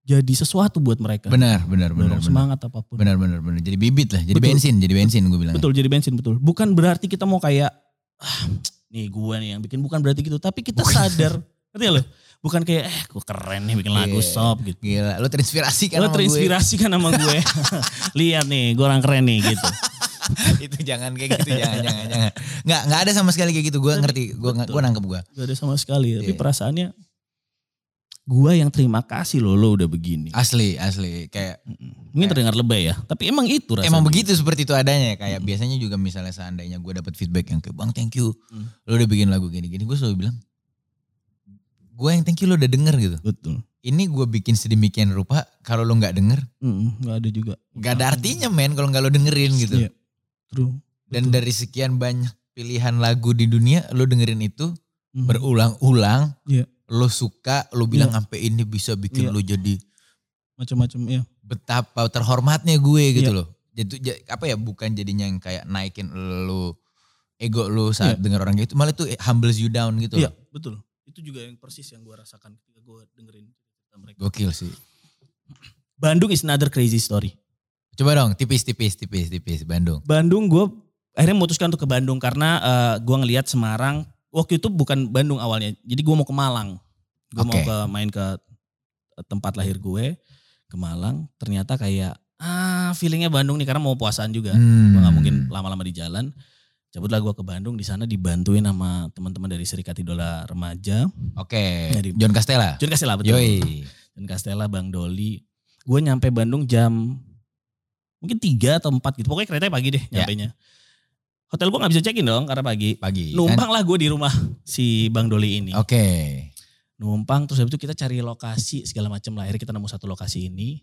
jadi sesuatu buat mereka. Benar, kan? benar, benar, Dorong benar. semangat apapun. Benar, benar, benar. Jadi bibit lah, jadi Betul. bensin, jadi bensin gue bilang. Betul jadi bensin betul. Bukan berarti kita mau kayak "Ah, nih gue nih yang bikin bukan berarti gitu, tapi kita sadar. Ngerti gak lo? Bukan kayak eh gue keren nih bikin lagu Iya. sob gitu. Gila, lu terinspirasi kan Lo sama terinspirasi kan sama gue. Lihat nih, gue orang keren nih gitu. gue. Itu jangan kayak gitu, jangan, jangan, jangan. Nggak, nggak ada sama sekali kayak gitu. Gue ngerti, gue Betul. gue nangkep gue. Gak ada sama sekali, tapi Iya. perasaannya gue yang terima kasih lo lo udah begini. Asli, asli. Kayak Mm-mm. Mungkin terdengar lebay ya, tapi emang itu rasanya. Iya. Emang begitu seperti itu adanya ya, kayak biasanya juga misalnya seandainya gue dapet feedback yang kayak bang thank you Hmm. lo udah bikin lagu gini-gini gue selalu bilang gue yang thank you lo udah denger gitu Betul. ini gue bikin sedemikian rupa kalau lo nggak denger Mm-mm, Gak ada juga. nggak ada artinya men kalau nggak lo dengerin gitu Iya. True. dan betul. dari sekian banyak pilihan lagu di dunia lo dengerin itu Mm. berulang-ulang Iya. lo suka lo bilang sampai ini bisa bikin Iya. lo jadi Macam-macam ya. betapa terhormatnya gue Iya. gitu loh. Jadi ja- apa ya bukan jadinya yang kayak naikin lu ego lu saat denger orang kayak gitu, malah itu humbles you down gitu. Iya, loh. betul. Itu juga yang persis yang gue rasakan ketika gue dengerin cerita mereka. Gokil sih. Bandung is another crazy story. Coba dong tipis tipis tipis tipis Bandung. Bandung gue akhirnya memutuskan untuk ke Bandung karena gue ngelihat Semarang waktu itu bukan Bandung awalnya. Jadi gue mau ke Malang. Gue mau Oke. ke main ke eh, tempat lahir gue ke Malang. Ternyata kayak ah feelingnya Bandung nih karena mau puasaan juga. Hmm. Gue Iya, nggak mungkin lama-lama di jalan. Cabutlah gue ke Bandung di sana dibantuin sama teman-teman dari Serikat Idola Remaja. Oke, Dari- John Castella. Jadi kasih lah betul. Yoi. dan Castella, Bang Doli. Gue nyampe Bandung jam mungkin 3 atau 4 gitu. Pokoknya keretanya pagi deh Ya. nyampenya. Hotel gue gak bisa check-in dong karena pagi. Pagi. kan? Numpang lah gue di rumah si Bang Doli ini. Oke. Numpang terus habis itu kita cari lokasi segala macam lah. Akhirnya kita nemu satu lokasi ini.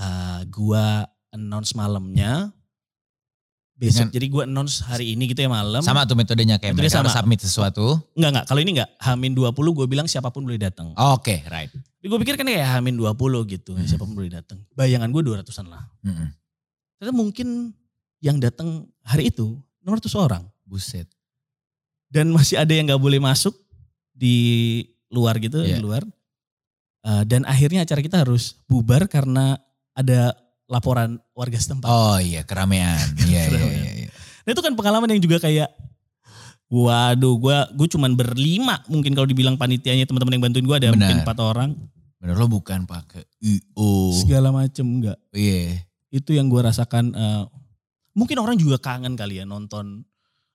Eh gua announce malamnya. Besok Dengan- jadi gua announce hari ini gitu ya malam. Sama tuh metodenya kayak Metode mereka harus sama. submit sesuatu. Enggak enggak, kalau ini enggak. Hamin 20 gue bilang siapapun boleh datang. Oke, right. Gue pikir kan ya Hamin 20 Oh. gitu, Hmm. siapapun boleh datang. Bayangan gue 200-an lah. Mm-mm. ternyata mungkin yang datang hari itu nomor ratus orang Buset. dan masih ada yang nggak boleh masuk di luar gitu di Iya. luar Uh, dan akhirnya acara kita harus bubar karena ada laporan warga setempat. Oh iya, keramean. Iya, iya, Keramaian. iya, iya. Nah, itu kan pengalaman yang juga kayak waduh gua gue cuman berlima mungkin kalau dibilang panitianya teman-teman yang bantuin gua ada mungkin Benar. empat orang Bener lo bukan pakai IO. segala macem enggak Iya. itu yang gua rasakan eh, mungkin orang juga kangen kali ya nonton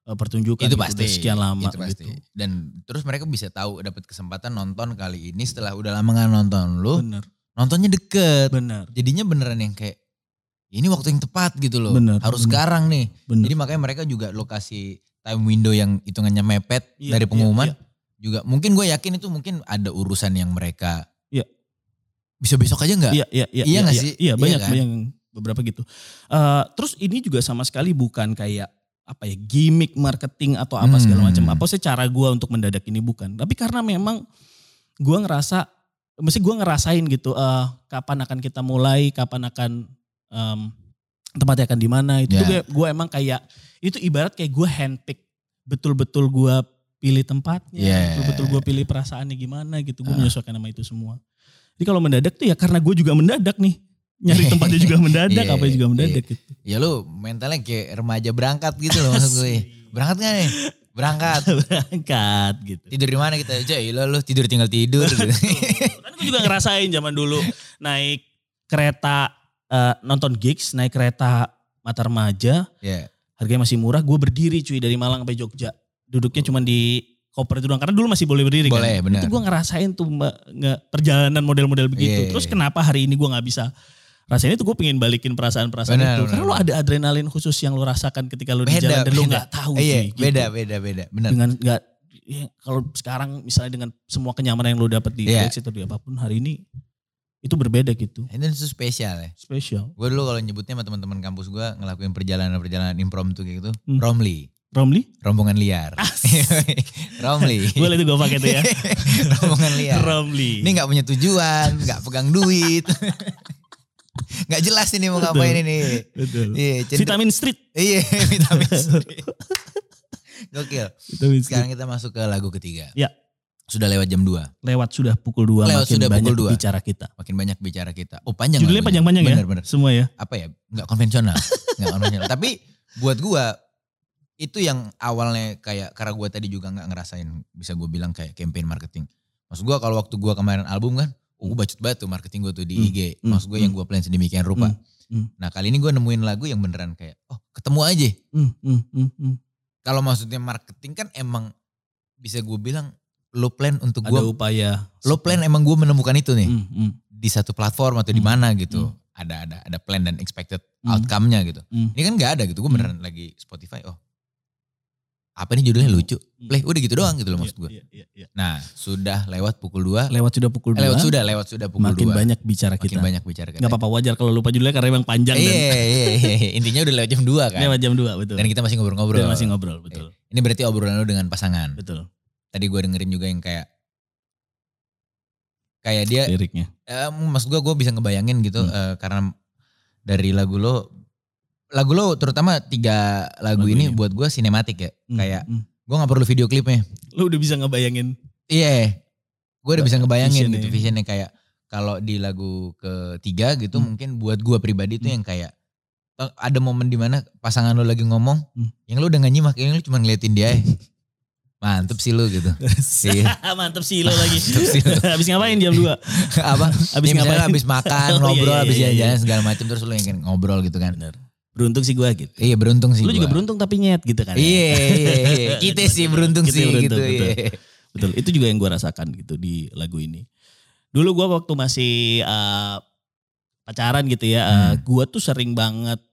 eh, pertunjukan itu gitu, pasti udah sekian lama itu pasti gitu. dan terus mereka bisa tahu dapat kesempatan nonton kali ini setelah udah lama nggak nonton lu Bener. nontonnya deket Benar, jadinya beneran yang kayak ini waktu yang tepat gitu loh Bener, harus bener. sekarang nih benar. jadi makanya mereka juga lokasi time window yang hitungannya mepet Iya, dari iya, pengumuman iya. juga mungkin gue yakin itu mungkin ada urusan yang mereka Iya. bisa besok aja nggak Iya, iya, iya. Iya nggak iya, sih? Iya Iya, banyak, kan? banyak beberapa gitu. Eh, terus ini juga sama sekali bukan kayak apa ya gimmick marketing atau apa segala Hmm. macam. Apa sih cara gue untuk mendadak ini bukan? Tapi karena memang gue ngerasa, mesti gue ngerasain gitu. eh, kapan akan kita mulai? Kapan akan em, tempatnya akan di mana? Itu Ya. gue emang kayak itu ibarat kayak gue handpick betul-betul gue pilih tempatnya, Yeah. betul-betul gue pilih perasaannya gimana gitu, Ah. gue menyesuaikan sama itu semua. Jadi kalau mendadak tuh ya karena gue juga mendadak nih, nyari tempatnya juga mendadak, Iya, apa juga iya. mendadak gitu. Ya lu mentalnya kayak remaja berangkat gitu loh maksud gue. Berangkat gak nih? Berangkat. Berangkat gitu. Tidur di mana kita? Jay, lo lu tidur tinggal tidur. gitu. Kan gue juga ngerasain zaman dulu naik kereta eh, nonton gigs, naik kereta Mata Remaja, ya. harganya masih murah, gue berdiri cuy dari Malang sampai Jogja. Duduknya cuma di koper itu doang karena dulu masih boleh berdiri Oh. kan. Boleh, benar. Itu gue ngerasain tuh mbak, nge- perjalanan model-model begitu. Iya. Terus kenapa hari ini gue nggak bisa rasain itu gue pengen balikin perasaan-perasaan Benar, itu. benar, Karena lo benar. ada adrenalin khusus yang lo rasakan ketika lo di Beda, jalan dan lo beda. nggak tahu. Iya, cuy, gitu. beda beda beda. Benar. Dengan nggak ya, kalau sekarang misalnya dengan semua kenyamanan yang lo dapet di Iya. gigs atau di apapun hari ini itu berbeda gitu. Ini itu spesial ya. Spesial. Gue dulu kalau nyebutnya sama teman-teman kampus gue ngelakuin perjalanan-perjalanan impromptu kayak gitu, Hmm. Romli, Romli? rombongan liar. Romli. Boleh tuh gue pakai tuh ya. rombongan liar. Iya. Romli. Ini nggak punya tujuan, nggak pegang duit. nggak jelas ini mau Betul. ngapain ini. Betul. Iya, cenderung- Vitamin Street. Iya, vitamin C. Gokil. Vitamin Street. Sekarang kita masuk ke lagu ketiga. Ya. Sudah lewat jam 2. lewat sudah pukul 2 Lewat makin sudah banyak pukul dua. bicara kita. Makin banyak bicara kita. Oh, panjang. Judulnya lagunya. panjang-panjang ya. Benar, benar. Semua ya. Apa ya? Nggak konvensional. Nggak konvensional. Tapi buat gua itu yang awalnya kayak karena gua tadi juga nggak ngerasain bisa gue bilang kayak campaign marketing. Maksud gua kalau waktu gua kemarin album kan, oh, gua bacot banget tuh marketing gua tuh di Hmm, IG. hmm, Maksud gua yang gua plan sedemikian rupa. Hmm, Nah, kali ini gua nemuin lagu yang beneran kayak oh, ketemu aja. Hmm, hmm, hmm, hmm. kalau maksudnya marketing kan emang bisa gue bilang lo plan untuk Ada gue upaya. lo plan emang gue menemukan itu nih Hmm, hmm, di satu platform atau di Hmm. mana gitu Hmm. ada ada ada plan dan expected Hmm. outcome-nya gitu hmm. ini kan nggak ada gitu gue Hmm. beneran lagi Spotify oh apa nih judulnya lucu play udah gitu doang gitu loh maksud gue Iya, iya, iya. nah sudah lewat pukul 2 Lewat sudah pukul 2. lewat sudah lewat sudah pukul makin 2 banyak bicara makin kita. banyak bicara Gak apa-apa wajar kalau lupa judulnya karena emang panjang iya iya iya intinya udah lewat jam 2 dan kan Iya. lewat jam 2 Iya, betul. dan kita masih ngobrol-ngobrol Dan masih ngobrol, betul. ini berarti obrolan lo dengan pasangan Betul. tadi gue dengerin juga yang kayak kayak dia Liriknya. eh, maksud gue gue bisa ngebayangin gitu Iya. Hmm. eh, karena dari lagu lo lagu lo terutama tiga lagu, Lagu ini, ini. buat gue sinematik ya Hmm, kayak hmm. gue nggak perlu video klipnya Lu udah bisa ngebayangin iya gue udah bisa ngebayangin Visionnya gitu ya. visionnya kayak kalau di lagu ketiga gitu Hmm. mungkin buat gue pribadi tuh Hmm. yang kayak eh, ada momen dimana pasangan lo lagi ngomong Hmm. yang lo udah gak nyimak yang lo cuma ngeliatin dia ya. mantep sih lo gitu Iya. Mantep sih lo lagi. Mantep sih lo. Habis ngapain jam 2? apa Abis abis ngapain? misalnya abis makan Oh, iya, ngobrol iya, abis iya, jalan-jalan iya. segala macam terus lu yang kayak ngobrol gitu kan Benar. Beruntung sih gue gitu. iya beruntung sih Lu gua. juga beruntung tapi nyet gitu kan. ya. iya iya iya kita sih beruntung Kita sih gitu beruntung, betul. iya. Betul, itu juga yang gue rasakan gitu di lagu ini. Dulu gue waktu masih eh, pacaran gitu ya, eh, Hmm. gue tuh sering banget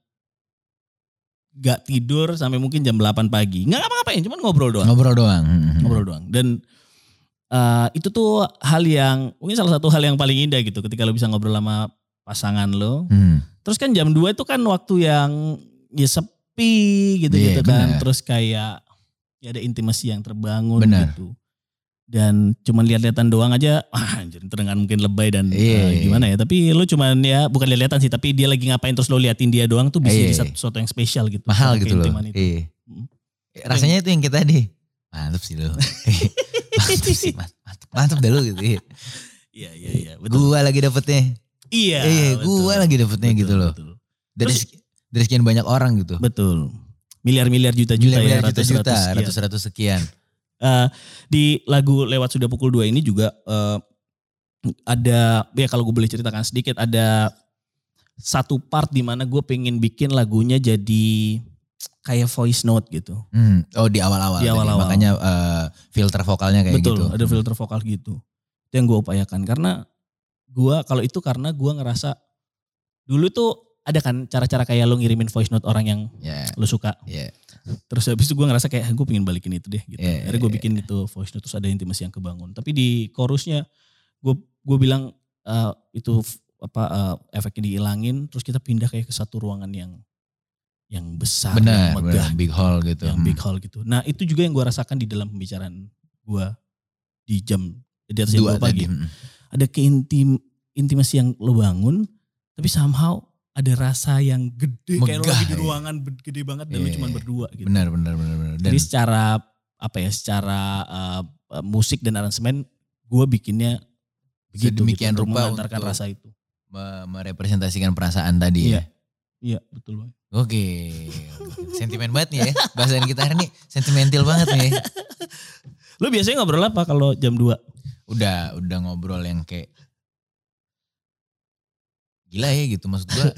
gak tidur sampai mungkin jam 8 pagi. Nggak ngapa-ngapain, cuman ngobrol doang. ngobrol doang Mm-mm. Ngobrol doang. Dan eh, itu tuh hal yang, mungkin salah satu hal yang paling indah gitu ketika lo bisa ngobrol sama pasangan lo. Hmm. Terus kan jam 2 itu kan waktu yang ya sepi gitu-gitu Iya, benar. kan. Terus kayak ya ada intimasi yang terbangun Benar. gitu. Dan cuman lihat-lihatan doang aja, wah anjir dengan mungkin lebay dan Iya, eh, iya. gimana ya. Tapi lu cuman ya bukan lihat-lihatan sih, tapi dia lagi ngapain terus lu liatin dia doang tuh bisa Iya, jadi iya. satu- sesuatu yang spesial gitu. mahal Satu gitu loh keintiman itu. iya Mm. rasanya itu yang kita tadi mantep sih lo mantep sih man- mantep mantep dah lo gitu iya. Iya, iya, iya. Betul. gua lagi dapetnya Iya, iya gua betul. lagi dapetnya Betul, gitu loh Betul. dari Terus- sek- dari sekian banyak orang gitu Betul. Miliar-miliar juta-juta ya, Miliar-miliar ratus-ratus. juta-juta, sekian. ratus-ratus sekian. Eh, di lagu lewat sudah pukul 2 ini juga eh, ada ya kalau gue boleh ceritakan sedikit ada satu part di mana gue pengen bikin lagunya jadi kayak voice note gitu. Hmm. Oh di awal-awal. Di tadi. awal-awal. Makanya eh, filter vokalnya kayak gitu. Betul, ada filter vokal gitu. Itu yang gue upayakan karena gue kalau itu karena gue ngerasa dulu tuh ada kan cara-cara kayak lo ngirimin voice note orang yang Ya, lo suka. ya. Terus habis itu gue ngerasa kayak gue pengen balikin itu deh gitu. Iya, Akhirnya gue iya, bikin itu voice note terus ada intimasi yang kebangun. Tapi di chorusnya gue gue bilang eh, itu f- apa eh, efeknya dihilangin terus kita pindah kayak ke satu ruangan yang Ah, yang besar, Benar, yang megah, benar, big hall gitu. yang big hall gitu. Nah itu juga yang gue rasakan di dalam pembicaraan gue di jam di atas jam dua dua pagi. tadi. Mm. Ada keintim intimasi yang lo bangun tapi somehow ada rasa yang gede kayak lo Megah, lagi di iya. ruangan be- gede banget dan lo Iya, cuma iya. berdua gitu. Benar, benar, benar, benar. Dan Jadi secara apa ya secara uh, uh, musik dan aransemen gue bikinnya begitu Sedemikian gitu, untuk rupa mengantarkan untuk- rasa itu. Me- merepresentasikan perasaan tadi ya. Iya betul. Boy. Oke. Sentimen banget nih ya. Bahasan kita hari ini sentimental banget nih. Lu biasanya ngobrol apa kalau jam 2? Udah udah ngobrol yang kayak gila ya gitu maksud gua.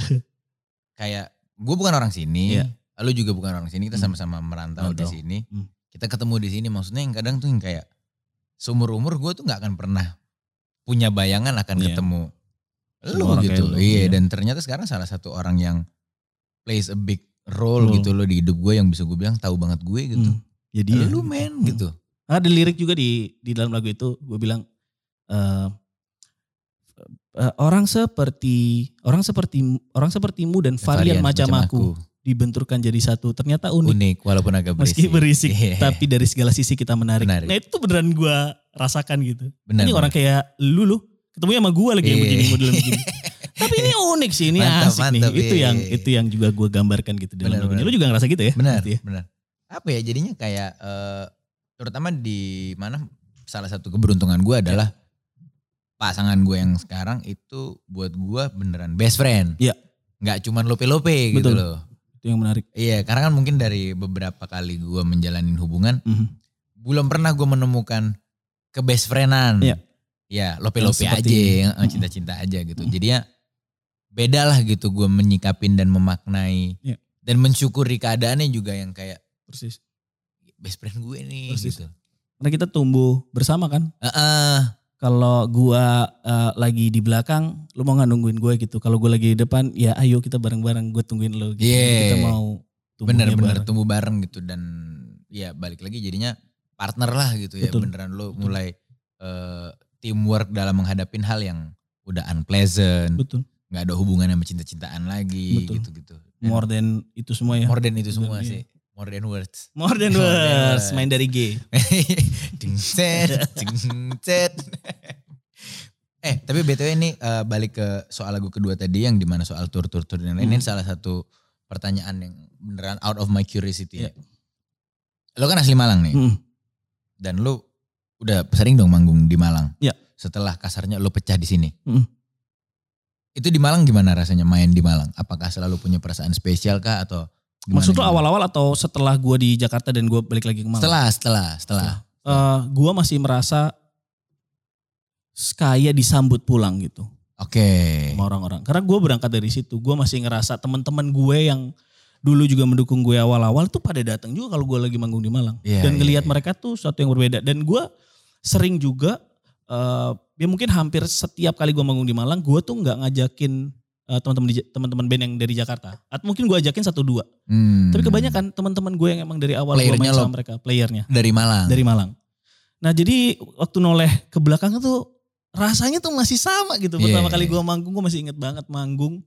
kayak gue bukan orang sini, Iya. lu juga bukan orang sini, kita Hmm. sama-sama merantau di Merantau. sini. Hmm. Kita ketemu di sini maksudnya yang kadang tuh yang kayak seumur-umur gue tuh nggak akan pernah punya bayangan akan Iya. ketemu lu Sama orang gitu. kayak lu, Iya, iya. dan ternyata sekarang salah satu orang yang plays a big role Role. gitu loh di hidup gue yang bisa gue bilang tahu banget gue gitu. Hmm. Jadi ya, Lu gitu. men Hmm. gitu. Ada lirik juga di di dalam lagu itu gue bilang eh, eh, orang seperti orang seperti orang sepertimu dan varian, macam, aku dibenturkan jadi satu. Ternyata unik, Unik walaupun agak berisik. meski berisik, Iya, tapi dari segala sisi kita menarik. Menarik. Nah, itu beneran gue rasakan gitu. benar. ini orang kayak lu loh, ketemunya sama gue lagi yang Iya. begini model yang begini. Tapi ini unik sih, ini Mantap, asik mantap, nih. Itu iya, yang iya, iya. itu yang juga gue gambarkan gitu dalam Benar, lagunya. benar. Lu juga ngerasa gitu ya? benar, Pasti ya? benar. Apa ya jadinya kayak eh, terutama di mana salah satu keberuntungan gue adalah pasangan gue yang sekarang itu buat gue beneran best friend. Iya. Nggak cuman lope-lope gitu Betul. loh. Itu yang menarik. Iya, karena kan mungkin dari beberapa kali gue menjalani hubungan Mhm. belum pernah gue menemukan kebest friendan. Iya. Ya, lope-lope Yang aja, seperti ini. yang, eh, Mm-mm. cinta-cinta aja gitu. Mm-mm. Jadi ya beda lah gitu gue menyikapin dan memaknai Iya. dan mensyukuri keadaannya juga yang kayak Persis. best friend gue nih Persis. gitu. Karena kita tumbuh bersama kan. Heeh. Kalau gua eh, lagi di belakang, lu mau nggak nungguin gue gitu. Kalau gue lagi di depan, ya ayo kita bareng-bareng gue tungguin lu. Gitu. Yeah. Kita mau tumbuhnya bener-bener bareng. tumbuh bareng gitu dan ya balik lagi jadinya partner lah gitu ya Betul. beneran lo Betul. mulai eh, teamwork dalam menghadapin hal yang udah unpleasant, Betul. nggak ada hubungan sama cinta-cintaan lagi Betul. gitu-gitu. Dan More than itu semua ya. Iya. More, more than itu semua Bener, iya. sih, more than words. than More than words. words. Main dari G. ding cet, ding cet. eh tapi btw ini eh, balik ke soal lagu kedua tadi yang dimana soal tur tur tur dan lain ini Hmm. salah satu pertanyaan yang beneran out of my curiosity. Iya. ya. Lo kan asli Malang nih Mhm. dan lo udah sering dong manggung di Malang. Iya. Setelah kasarnya lo pecah di sini. Mm. Itu di Malang gimana rasanya main di Malang? Apakah selalu punya perasaan spesial kah atau gimana? Maksud lo gimana? awal-awal atau setelah gue di Jakarta dan gue balik lagi ke Malang? Setelah, setelah, setelah. Eh, gue masih merasa kaya disambut pulang gitu Oke. sama orang-orang. Karena gue berangkat dari situ, gue masih ngerasa teman-teman gue yang dulu juga mendukung gue awal-awal tuh pada datang juga kalau gue lagi manggung di Malang. Iya, iya, dan ngelihat iya. mereka tuh suatu yang berbeda. Dan gue sering juga, eh, ya mungkin hampir setiap kali gue manggung di Malang, gue tuh nggak ngajakin eh, teman-teman di- teman-teman band yang dari Jakarta. Atau mungkin gue ajakin satu dua. Hmm. Tapi kebanyakan teman-teman gue yang emang dari awal gue Playernya main lo- sama mereka, playernya dari Malang. dari Malang. Nah jadi waktu noleh ke belakang tuh rasanya tuh masih sama gitu. Iya, Pertama iya, kali iya. gua manggung gue masih inget banget manggung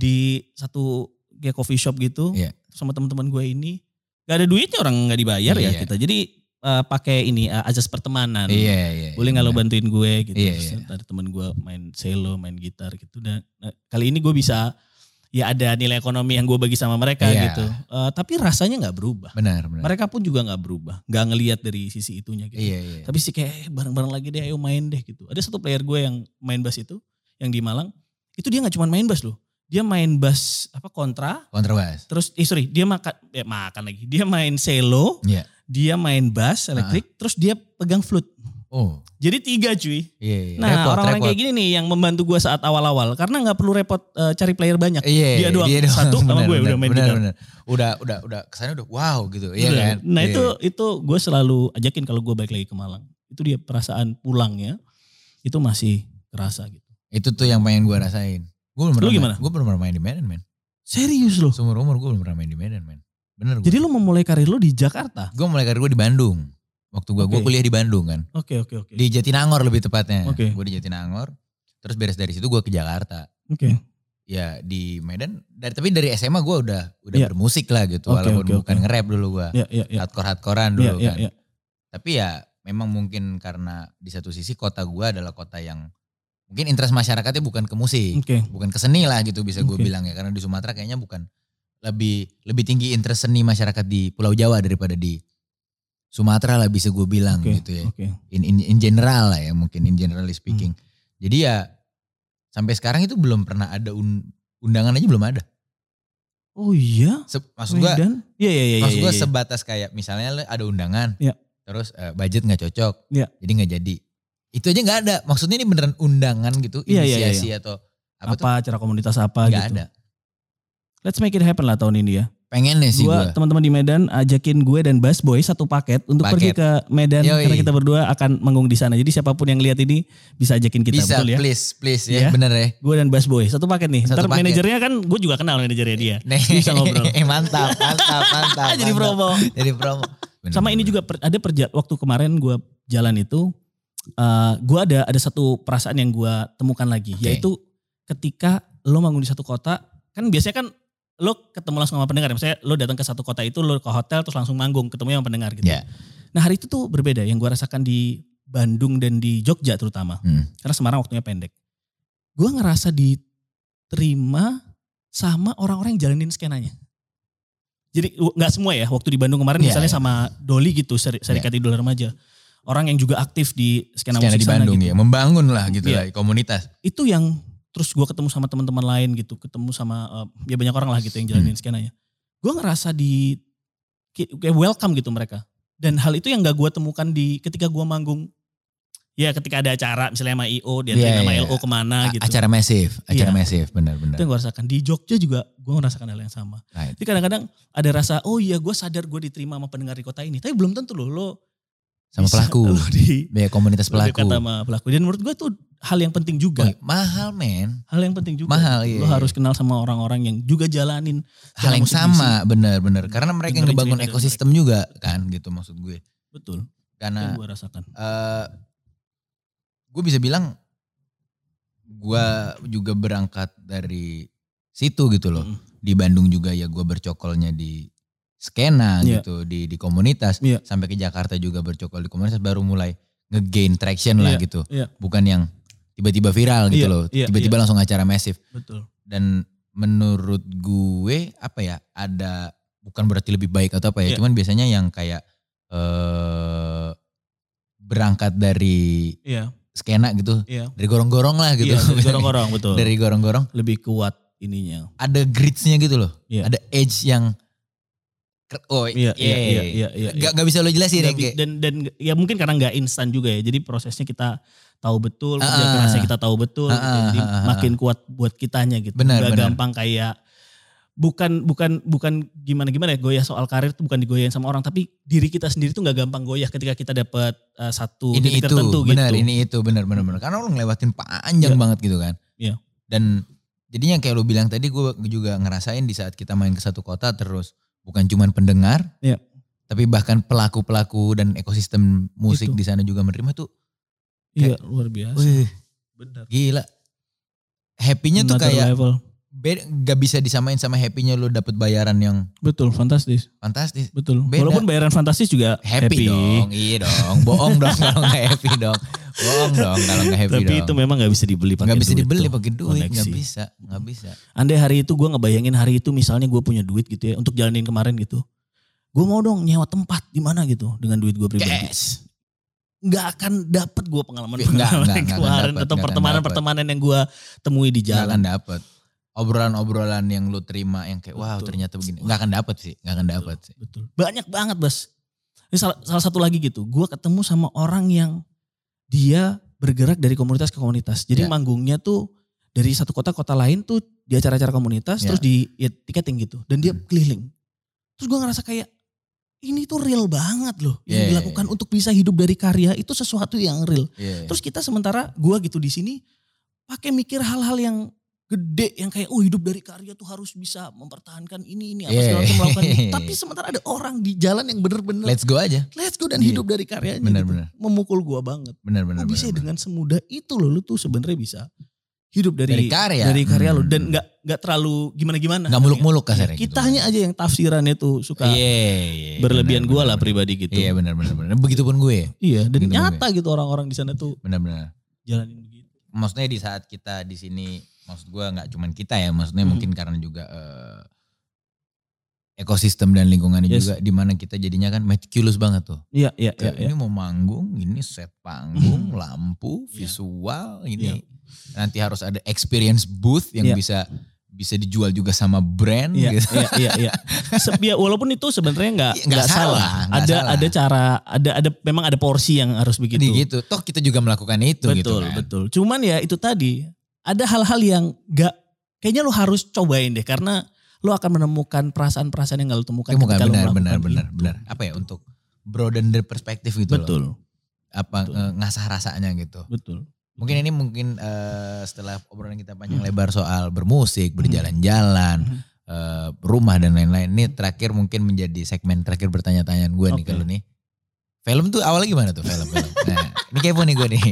di satu kayak coffee shop gitu Iya. sama teman-teman gue ini. Gak ada duitnya orang nggak dibayar Iya. ya kita. Jadi eh, pakai ini eh, ajas pertemanan. Iya, iya. Boleh nggak lo bantuin gue gitu. Iya, Terus iya. ada teman gue main cello, main gitar gitu. Dan nah, kali ini gue bisa ya ada nilai ekonomi yang gue bagi sama mereka Iya. gitu. Eh, tapi rasanya nggak berubah Benar, benar. mereka pun juga nggak berubah nggak ngelihat dari sisi itunya gitu Hmm. Iya, iya. tapi sih kayak "Eh, bareng-bareng lagi deh ayo main deh gitu ada satu player gue yang main bass itu yang di Malang itu dia nggak cuma main bass loh dia main bass apa kontra Kontrabas. terus eh sorry dia makan eh, makan lagi dia main cello Iya. dia main bass elektrik terus dia pegang flute Oh, jadi tiga cuy iya, iya. nah orang-orang kayak gini nih yang membantu gue saat awal-awal karena nggak perlu repot eh, cari player banyak Iya, Dia doang, satu sama Benar, gue benar, udah main benar, gitar. benar. Udah, udah, udah. Kesannya udah wow gitu. Iya Betul. kan? Nah Iya. itu itu gue selalu ajakin kalau gue balik lagi ke Malang. Itu dia perasaan pulangnya itu masih kerasa gitu. Itu tuh yang pengen gue rasain. Gue belum Lu pernah main- gimana? Gue belum pernah main di Medan, men. Serius loh. Seumur umur gue belum pernah main di Medan, men. Bener gue. Jadi lo memulai karir lo di Jakarta. gue mulai karir gue di Bandung. Waktu gue gue Oke. kuliah di Bandung kan. Oke oke oke. Di Jatinangor lebih tepatnya. Oke. Gue di Jatinangor. Terus beres dari situ gue ke Jakarta. Oke. ya di Medan dari tapi dari SMA gue udah udah Iya. bermusik lah gitu Oke, walaupun oke, bukan oke. nge-rap dulu gue Ya ya ya. hardcore hardcorean Ya dulu ya kan ya. tapi ya memang mungkin karena di satu sisi kota gue adalah kota yang mungkin interest masyarakatnya bukan ke musik Oke. bukan ke seni lah gitu bisa gue Oke. bilang ya karena di Sumatera kayaknya bukan lebih lebih tinggi interest seni masyarakat di Pulau Jawa daripada di Sumatera lah bisa gue bilang Oke, gitu ya. Oke. In, in in general lah ya mungkin in generally Hmm. speaking. Jadi ya sampai sekarang itu belum pernah ada un- undangan aja belum ada. Oh iya. Se- maksud gue Medan? Iya iya iya. maksud iya, gue iya. sebatas kayak misalnya lu ada undangan, Iya. terus eh, budget nggak cocok, Iya. jadi nggak jadi. Itu aja nggak ada. Maksudnya ini beneran undangan gitu, Iya, iya, iya, inisiasi atau apa, tuh apa acara komunitas apa nggak gitu. ada. Let's make it happen lah tahun ini ya. Pengennya Iya sih Gua gue. teman-teman di Medan ajakin gue dan Bass Boy satu paket untuk pergi Paket. ke Medan Yoi. karena kita berdua akan manggung di sana. Jadi siapapun yang lihat ini bisa ajakin kita Bisa betul ya. please please ya Iya. bener ya. Gue dan Bass Boy satu paket nih. Satu Ntar paket. manajernya kan gue juga kenal manajernya dia. Nih. Bisa ngobrol. Eh, mantap, mantap, mantap. Ah, jadi mantap. promo. Jadi promo. Bener, Sama ini bener. juga per- ada perja waktu kemarin gue jalan itu eh gue ada ada satu perasaan yang gue temukan lagi Oke. yaitu ketika lo manggung di satu kota kan biasanya kan lo ketemu langsung sama pendengar ya. Misalnya lo datang ke satu kota itu lo ke hotel terus langsung manggung ketemu sama pendengar gitu. Ya. Nah hari itu tuh berbeda yang gue rasakan di Bandung dan di Jogja terutama Hmm. karena Semarang waktunya pendek. Gue ngerasa diterima sama orang-orang yang jalanin skenanya. Jadi w- nggak semua ya. Waktu di Bandung kemarin Iya, misalnya iya. sama Doli gitu, seri- Serikat Idola Remaja. Orang yang juga aktif di Sekian skena, ada musik di sana Bandung gitu. ya, membangun lah gitu Iya. lah komunitas. Itu yang terus gue ketemu sama teman-teman lain gitu, ketemu sama eh, ya banyak orang lah gitu yang Hmm. jalanin skenanya. Gue ngerasa di ki- kayak welcome gitu mereka. Dan hal itu yang gak gue temukan di ketika gue manggung. Ya ketika ada acara misalnya sama IO, dia Iya, sama iya. LO kemana A- gitu. Acara masif, acara Iya. masif benar-benar. Itu yang gue rasakan. Di Jogja juga gue merasakan hal yang sama. Right. Jadi kadang-kadang ada rasa, oh iya gue sadar gue diterima sama pendengar di kota ini. Tapi belum tentu loh lo. Sama bisa- pelaku, Lo di, ya komunitas lo dekat pelaku. sama pelaku. Dan menurut gue itu hal yang penting juga. Wih, mahal men, Hal yang penting juga. mahal iya. Lo harus kenal sama orang-orang yang juga jalanin. hal yang musik sama benar-benar karena mereka yang Dengerin ngebangun cerita dari ekosistem juga kan gitu maksud gue. Betul. Itu yang Karena gue rasakan. eh gue bisa bilang gue juga berangkat dari situ gitu loh. Mm. Di Bandung juga ya gue bercokolnya di skena Iya. gitu, di di komunitas. Iya. Sampai ke Jakarta juga bercokol di komunitas baru mulai nge-gain traction lah gitu. iya. Bukan yang tiba-tiba viral gitu Iya, loh. iya, Tiba-tiba langsung acara masif. Betul. Dan menurut gue apa ya ada bukan berarti lebih baik atau apa ya Iya. cuman biasanya yang kayak eh berangkat dari Iya. skena gitu Iya. dari gorong-gorong lah gitu Iya, dari gorong-gorong betul. dari gorong-gorong Lebih kuat ininya. ada gritsnya gitu loh Iya. ada edge yang ker- oh Iya, iya, yeay. iya, iya, iya. Gak, gak bisa lo jelasin Nggak yang bi- kayak dan dan ya mungkin karena nggak instan juga ya jadi prosesnya kita tahu betul Ah, kerja ah. kerasnya kita tahu betul Ah, gitu. jadi ah, ah, ah. makin kuat buat kitanya gitu Benar, Nggak benar. gampang kayak bukan bukan bukan gimana gimana ya goyah soal karir tuh bukan digoyahin sama orang tapi diri kita sendiri tuh nggak gampang goyah ketika kita dapat eh, satu ini titik itu tertentu benar gitu ini itu benar benar benar karena lo ngelewatin panjang Iya. banget gitu kan Iya. dan jadinya kayak lo bilang tadi gue juga ngerasain di saat kita main ke satu kota terus bukan cuman pendengar Iya. tapi bahkan pelaku pelaku dan ekosistem musik Itu. di sana juga menerima tuh iya luar biasa wih, benar gila happy-nya tuh Another kayak level. beda, gak bisa disamain sama happy-nya lo dapet bayaran yang betul fantastis fantastis. betul Beda. walaupun bayaran fantastis juga Happy, happy, dong, iya dong. Bohong dong kalau gak happy dong. Bohong dong kalau gak happy tapi dong. itu memang nggak bisa dibeli pakai gak bisa duit dibeli tuh. pakai duit, gak koneksi. bisa, gak bisa. Andai hari itu gue ngebayangin hari itu misalnya gue punya duit gitu ya untuk jalanin kemarin gitu. Gue mau dong nyewa tempat di mana gitu dengan duit gue pribadi. Yes. Nggak akan dapet gue pengalaman Nggak, nggak, pengalaman nggak yang akan dapet, kemarin atau nggak akan pertemanan-pertemanan yang gue temui di Gak jalan. akan dapet. Obrolan-obrolan yang lu terima yang kayak wow Betul. ternyata begini. Gak akan dapet sih, gak akan dapet sih. Betul. Banyak banget bas. Ini salah, salah satu lagi gitu. Gue ketemu sama orang yang dia bergerak dari komunitas ke komunitas. Ya. Jadi manggungnya tuh dari satu kota ke kota lain tuh di acara-acara komunitas Ya. terus di ya, tiketing gitu. Dan dia Hmm. keliling. Terus gue ngerasa kayak ini tuh real banget loh. Yang Ya, ya, dilakukan untuk bisa hidup dari karya itu sesuatu yang real. Iya. Terus kita sementara gua gitu di sini pakai mikir hal-hal yang gede yang kayak oh hidup dari karya tuh harus bisa mempertahankan ini ini apa Yeah. segala macam melakukan ini. Tapi sementara ada orang di jalan yang bener-bener let's, Let's go aja. go dan Iya. hidup dari karyanya Benar, gitu. benar. Memukul gua banget. Benar benar Kok benar. bisa ya benar. dengan semudah itu loh lu tuh sebenarnya bisa hidup Dari dari dari karya, karya. lu Hmm. dan nggak nggak terlalu gimana-gimana. Iya, nggak muluk-muluk kasarnya. gitu. Kitanya aja yang tafsirannya tuh suka Iya, iya, benar, berlebihan gua benar, lah benar. pribadi gitu. Iya benar benar benar. Begitupun gue ya. Iya, dan Gitu, nyata gitu orang-orang di sana tuh Benar benar. jalanin begitu. Maksudnya di saat kita di sini maksud gue nggak cuman kita ya, maksudnya Hmm. mungkin karena juga eh, ekosistem dan lingkungannya Yes. juga di mana kita jadinya kan meticulous banget tuh. Iya, iya, iya. Kayak iya. Hmm. Ini mau manggung, ini set panggung, lampu, visual, ini nanti harus ada experience booth yang Iya. bisa bisa dijual juga sama brand Iya, gitu. iya, iya, iya. Se- ya, walaupun itu sebenarnya nggak Iya, nggak nggak salah, salah. nggak Ada salah. ada cara, ada ada memang ada porsi yang harus begitu. Jadi gitu. Toh kita juga melakukan itu betul, gitu kan. betul. Cuman ya itu tadi ada hal-hal yang nggak kayaknya lu harus cobain deh karena lu akan menemukan perasaan-perasaan yang nggak lu temukan Itu bukan ketika lu benar benar melakukan benar itu. benar. Apa ya untuk broaden the perspektif gitu loh. Betul, Apa Betul. eh, ngasah rasanya gitu. betul. Mungkin ini mungkin eh, setelah obrolan kita panjang Hmm. lebar soal bermusik, berjalan-jalan, Mhm. eh, rumah dan lain-lain. Ini terakhir mungkin menjadi segmen terakhir bertanya-tanyaan gue nih Oke. kalau nih. Film tuh awalnya gimana tuh film? film? Nah, ini kepo nih gue nih.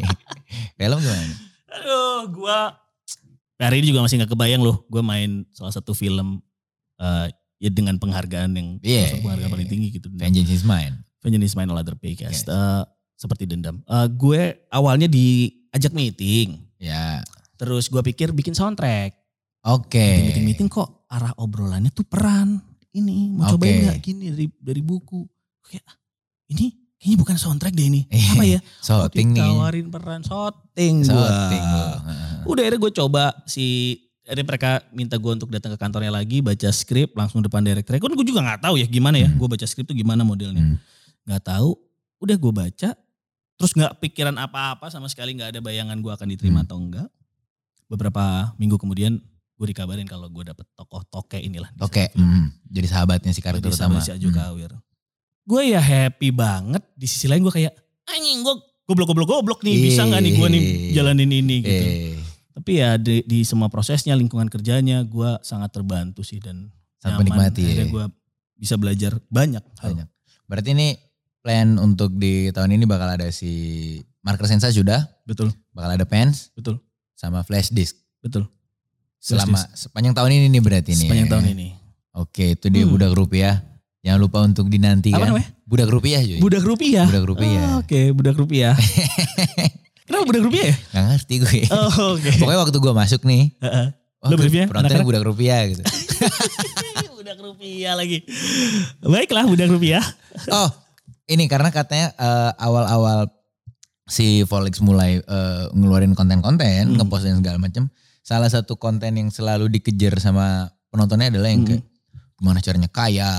film gimana? Aduh, gua hari ini juga masih nggak kebayang loh. Gua main salah satu film eh, ya dengan penghargaan yang Iya, salah satu penghargaan iya, paling iya. tinggi gitu. Vengeance is mine. Vengeance Mind Another Podcast. Eh, seperti dendam. Eh, gue awalnya diajak meeting. Ya, Terus gue pikir bikin soundtrack. oke. Meeting-meeting kok arah obrolannya tuh peran. Ini mau cobain Oke. nggak gini dari dari buku. Kayak ah, ini kayaknya bukan soundtrack deh ini. Apa ya? Shooting Iya, nih. Ditawarin peran shooting. gua. Shooting. gua. Heeh. Udah akhirnya gue coba si ada mereka minta gue untuk datang ke kantornya lagi baca skrip langsung depan director. Kan gue juga nggak tahu ya gimana ya. Hmm. Gue baca skrip tuh gimana modelnya. Hmm. Nggak tahu. Udah gue baca. Terus nggak pikiran apa-apa sama sekali nggak ada bayangan gue akan diterima Hmm. atau enggak. Beberapa minggu kemudian gue dikabarin kalau gue dapet tokoh toke inilah. di Oke, satu film. mm. jadi sahabatnya si Hmm. karakter Jadi utama. sama si Aju Kawir. Gue ya happy banget. Di sisi lain gue kayak anjing gue goblok-goblok-goblok nih. Bisa nggak nih gue nih Iya. jalanin ini Hmm. gitu. Eh, Tapi ya di, di semua prosesnya, lingkungan kerjanya, gue sangat terbantu sih dan sangat menikmati ya. Akhirnya gue bisa belajar banyak hal. Banyak. Berarti ini plan untuk di tahun ini bakal ada si marker sensa sudah, Betul, bakal ada pens, Betul. sama flash disk. betul. Selama sepanjang tahun ini nih berarti nih. Sepanjang ya. tahun ini. Oke, itu dia Hmm. budak rupiah. Jangan lupa untuk Apa dinantikan. namanya? Budak rupiah cuy. Budak rupiah. Iya. Budak rupiah. Oh, Oke, budak rupiah. Kenapa budak rupiah ya? Nggak ngerti gue. Oh, oke. Pokoknya waktu gue masuk nih, Heeh. oh, Lu briefnya, penontonnya anak-anak? budak rupiah gitu. budak rupiah lagi. Baiklah budak rupiah. Oh, ini karena katanya eh, awal-awal si Volix mulai eh, ngeluarin konten-konten, Hmm. ngepost dan segala macam. Salah satu konten yang selalu dikejar sama penontonnya adalah yang Hmm. kayak gimana caranya kaya.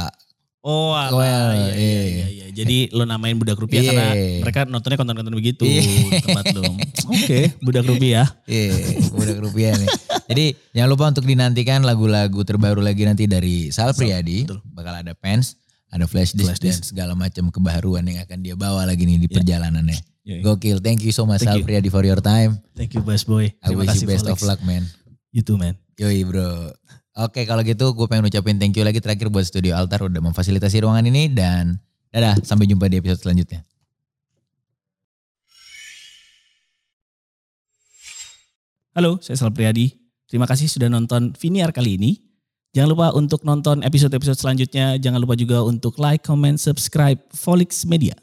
Oh, alah, Well, iya, iya, iya. iya, iya. Jadi lo namain budak rupiah karena Iya. mereka nontonnya konten-konten begitu Iya. di tempat lo. Oke, budak rupiah. Iya, budak rupiah nih. Jadi jangan lupa untuk dinantikan lagu-lagu terbaru lagi nanti dari Sal Priadi. betul. Bakal ada fans, ada flash disk, Flash disk. dan segala macam kebaruan yang akan dia bawa lagi nih di Iya. perjalanannya. Iya, iya. Gokil, thank you so much Sal Thank you. Priadi for your time. Thank you best boy. I Terima wish kasih you best Felix. of luck man. You too man. Yoi bro. Oke kalau gitu gue pengen ucapin thank you lagi terakhir buat Studio Altar udah memfasilitasi ruangan ini dan dadah sampai jumpa di episode selanjutnya. Halo, saya Sal Priadi. Terima kasih sudah nonton Viniar kali ini. Jangan lupa untuk nonton episode-episode selanjutnya. Jangan lupa juga untuk like, comment, subscribe Volix Media.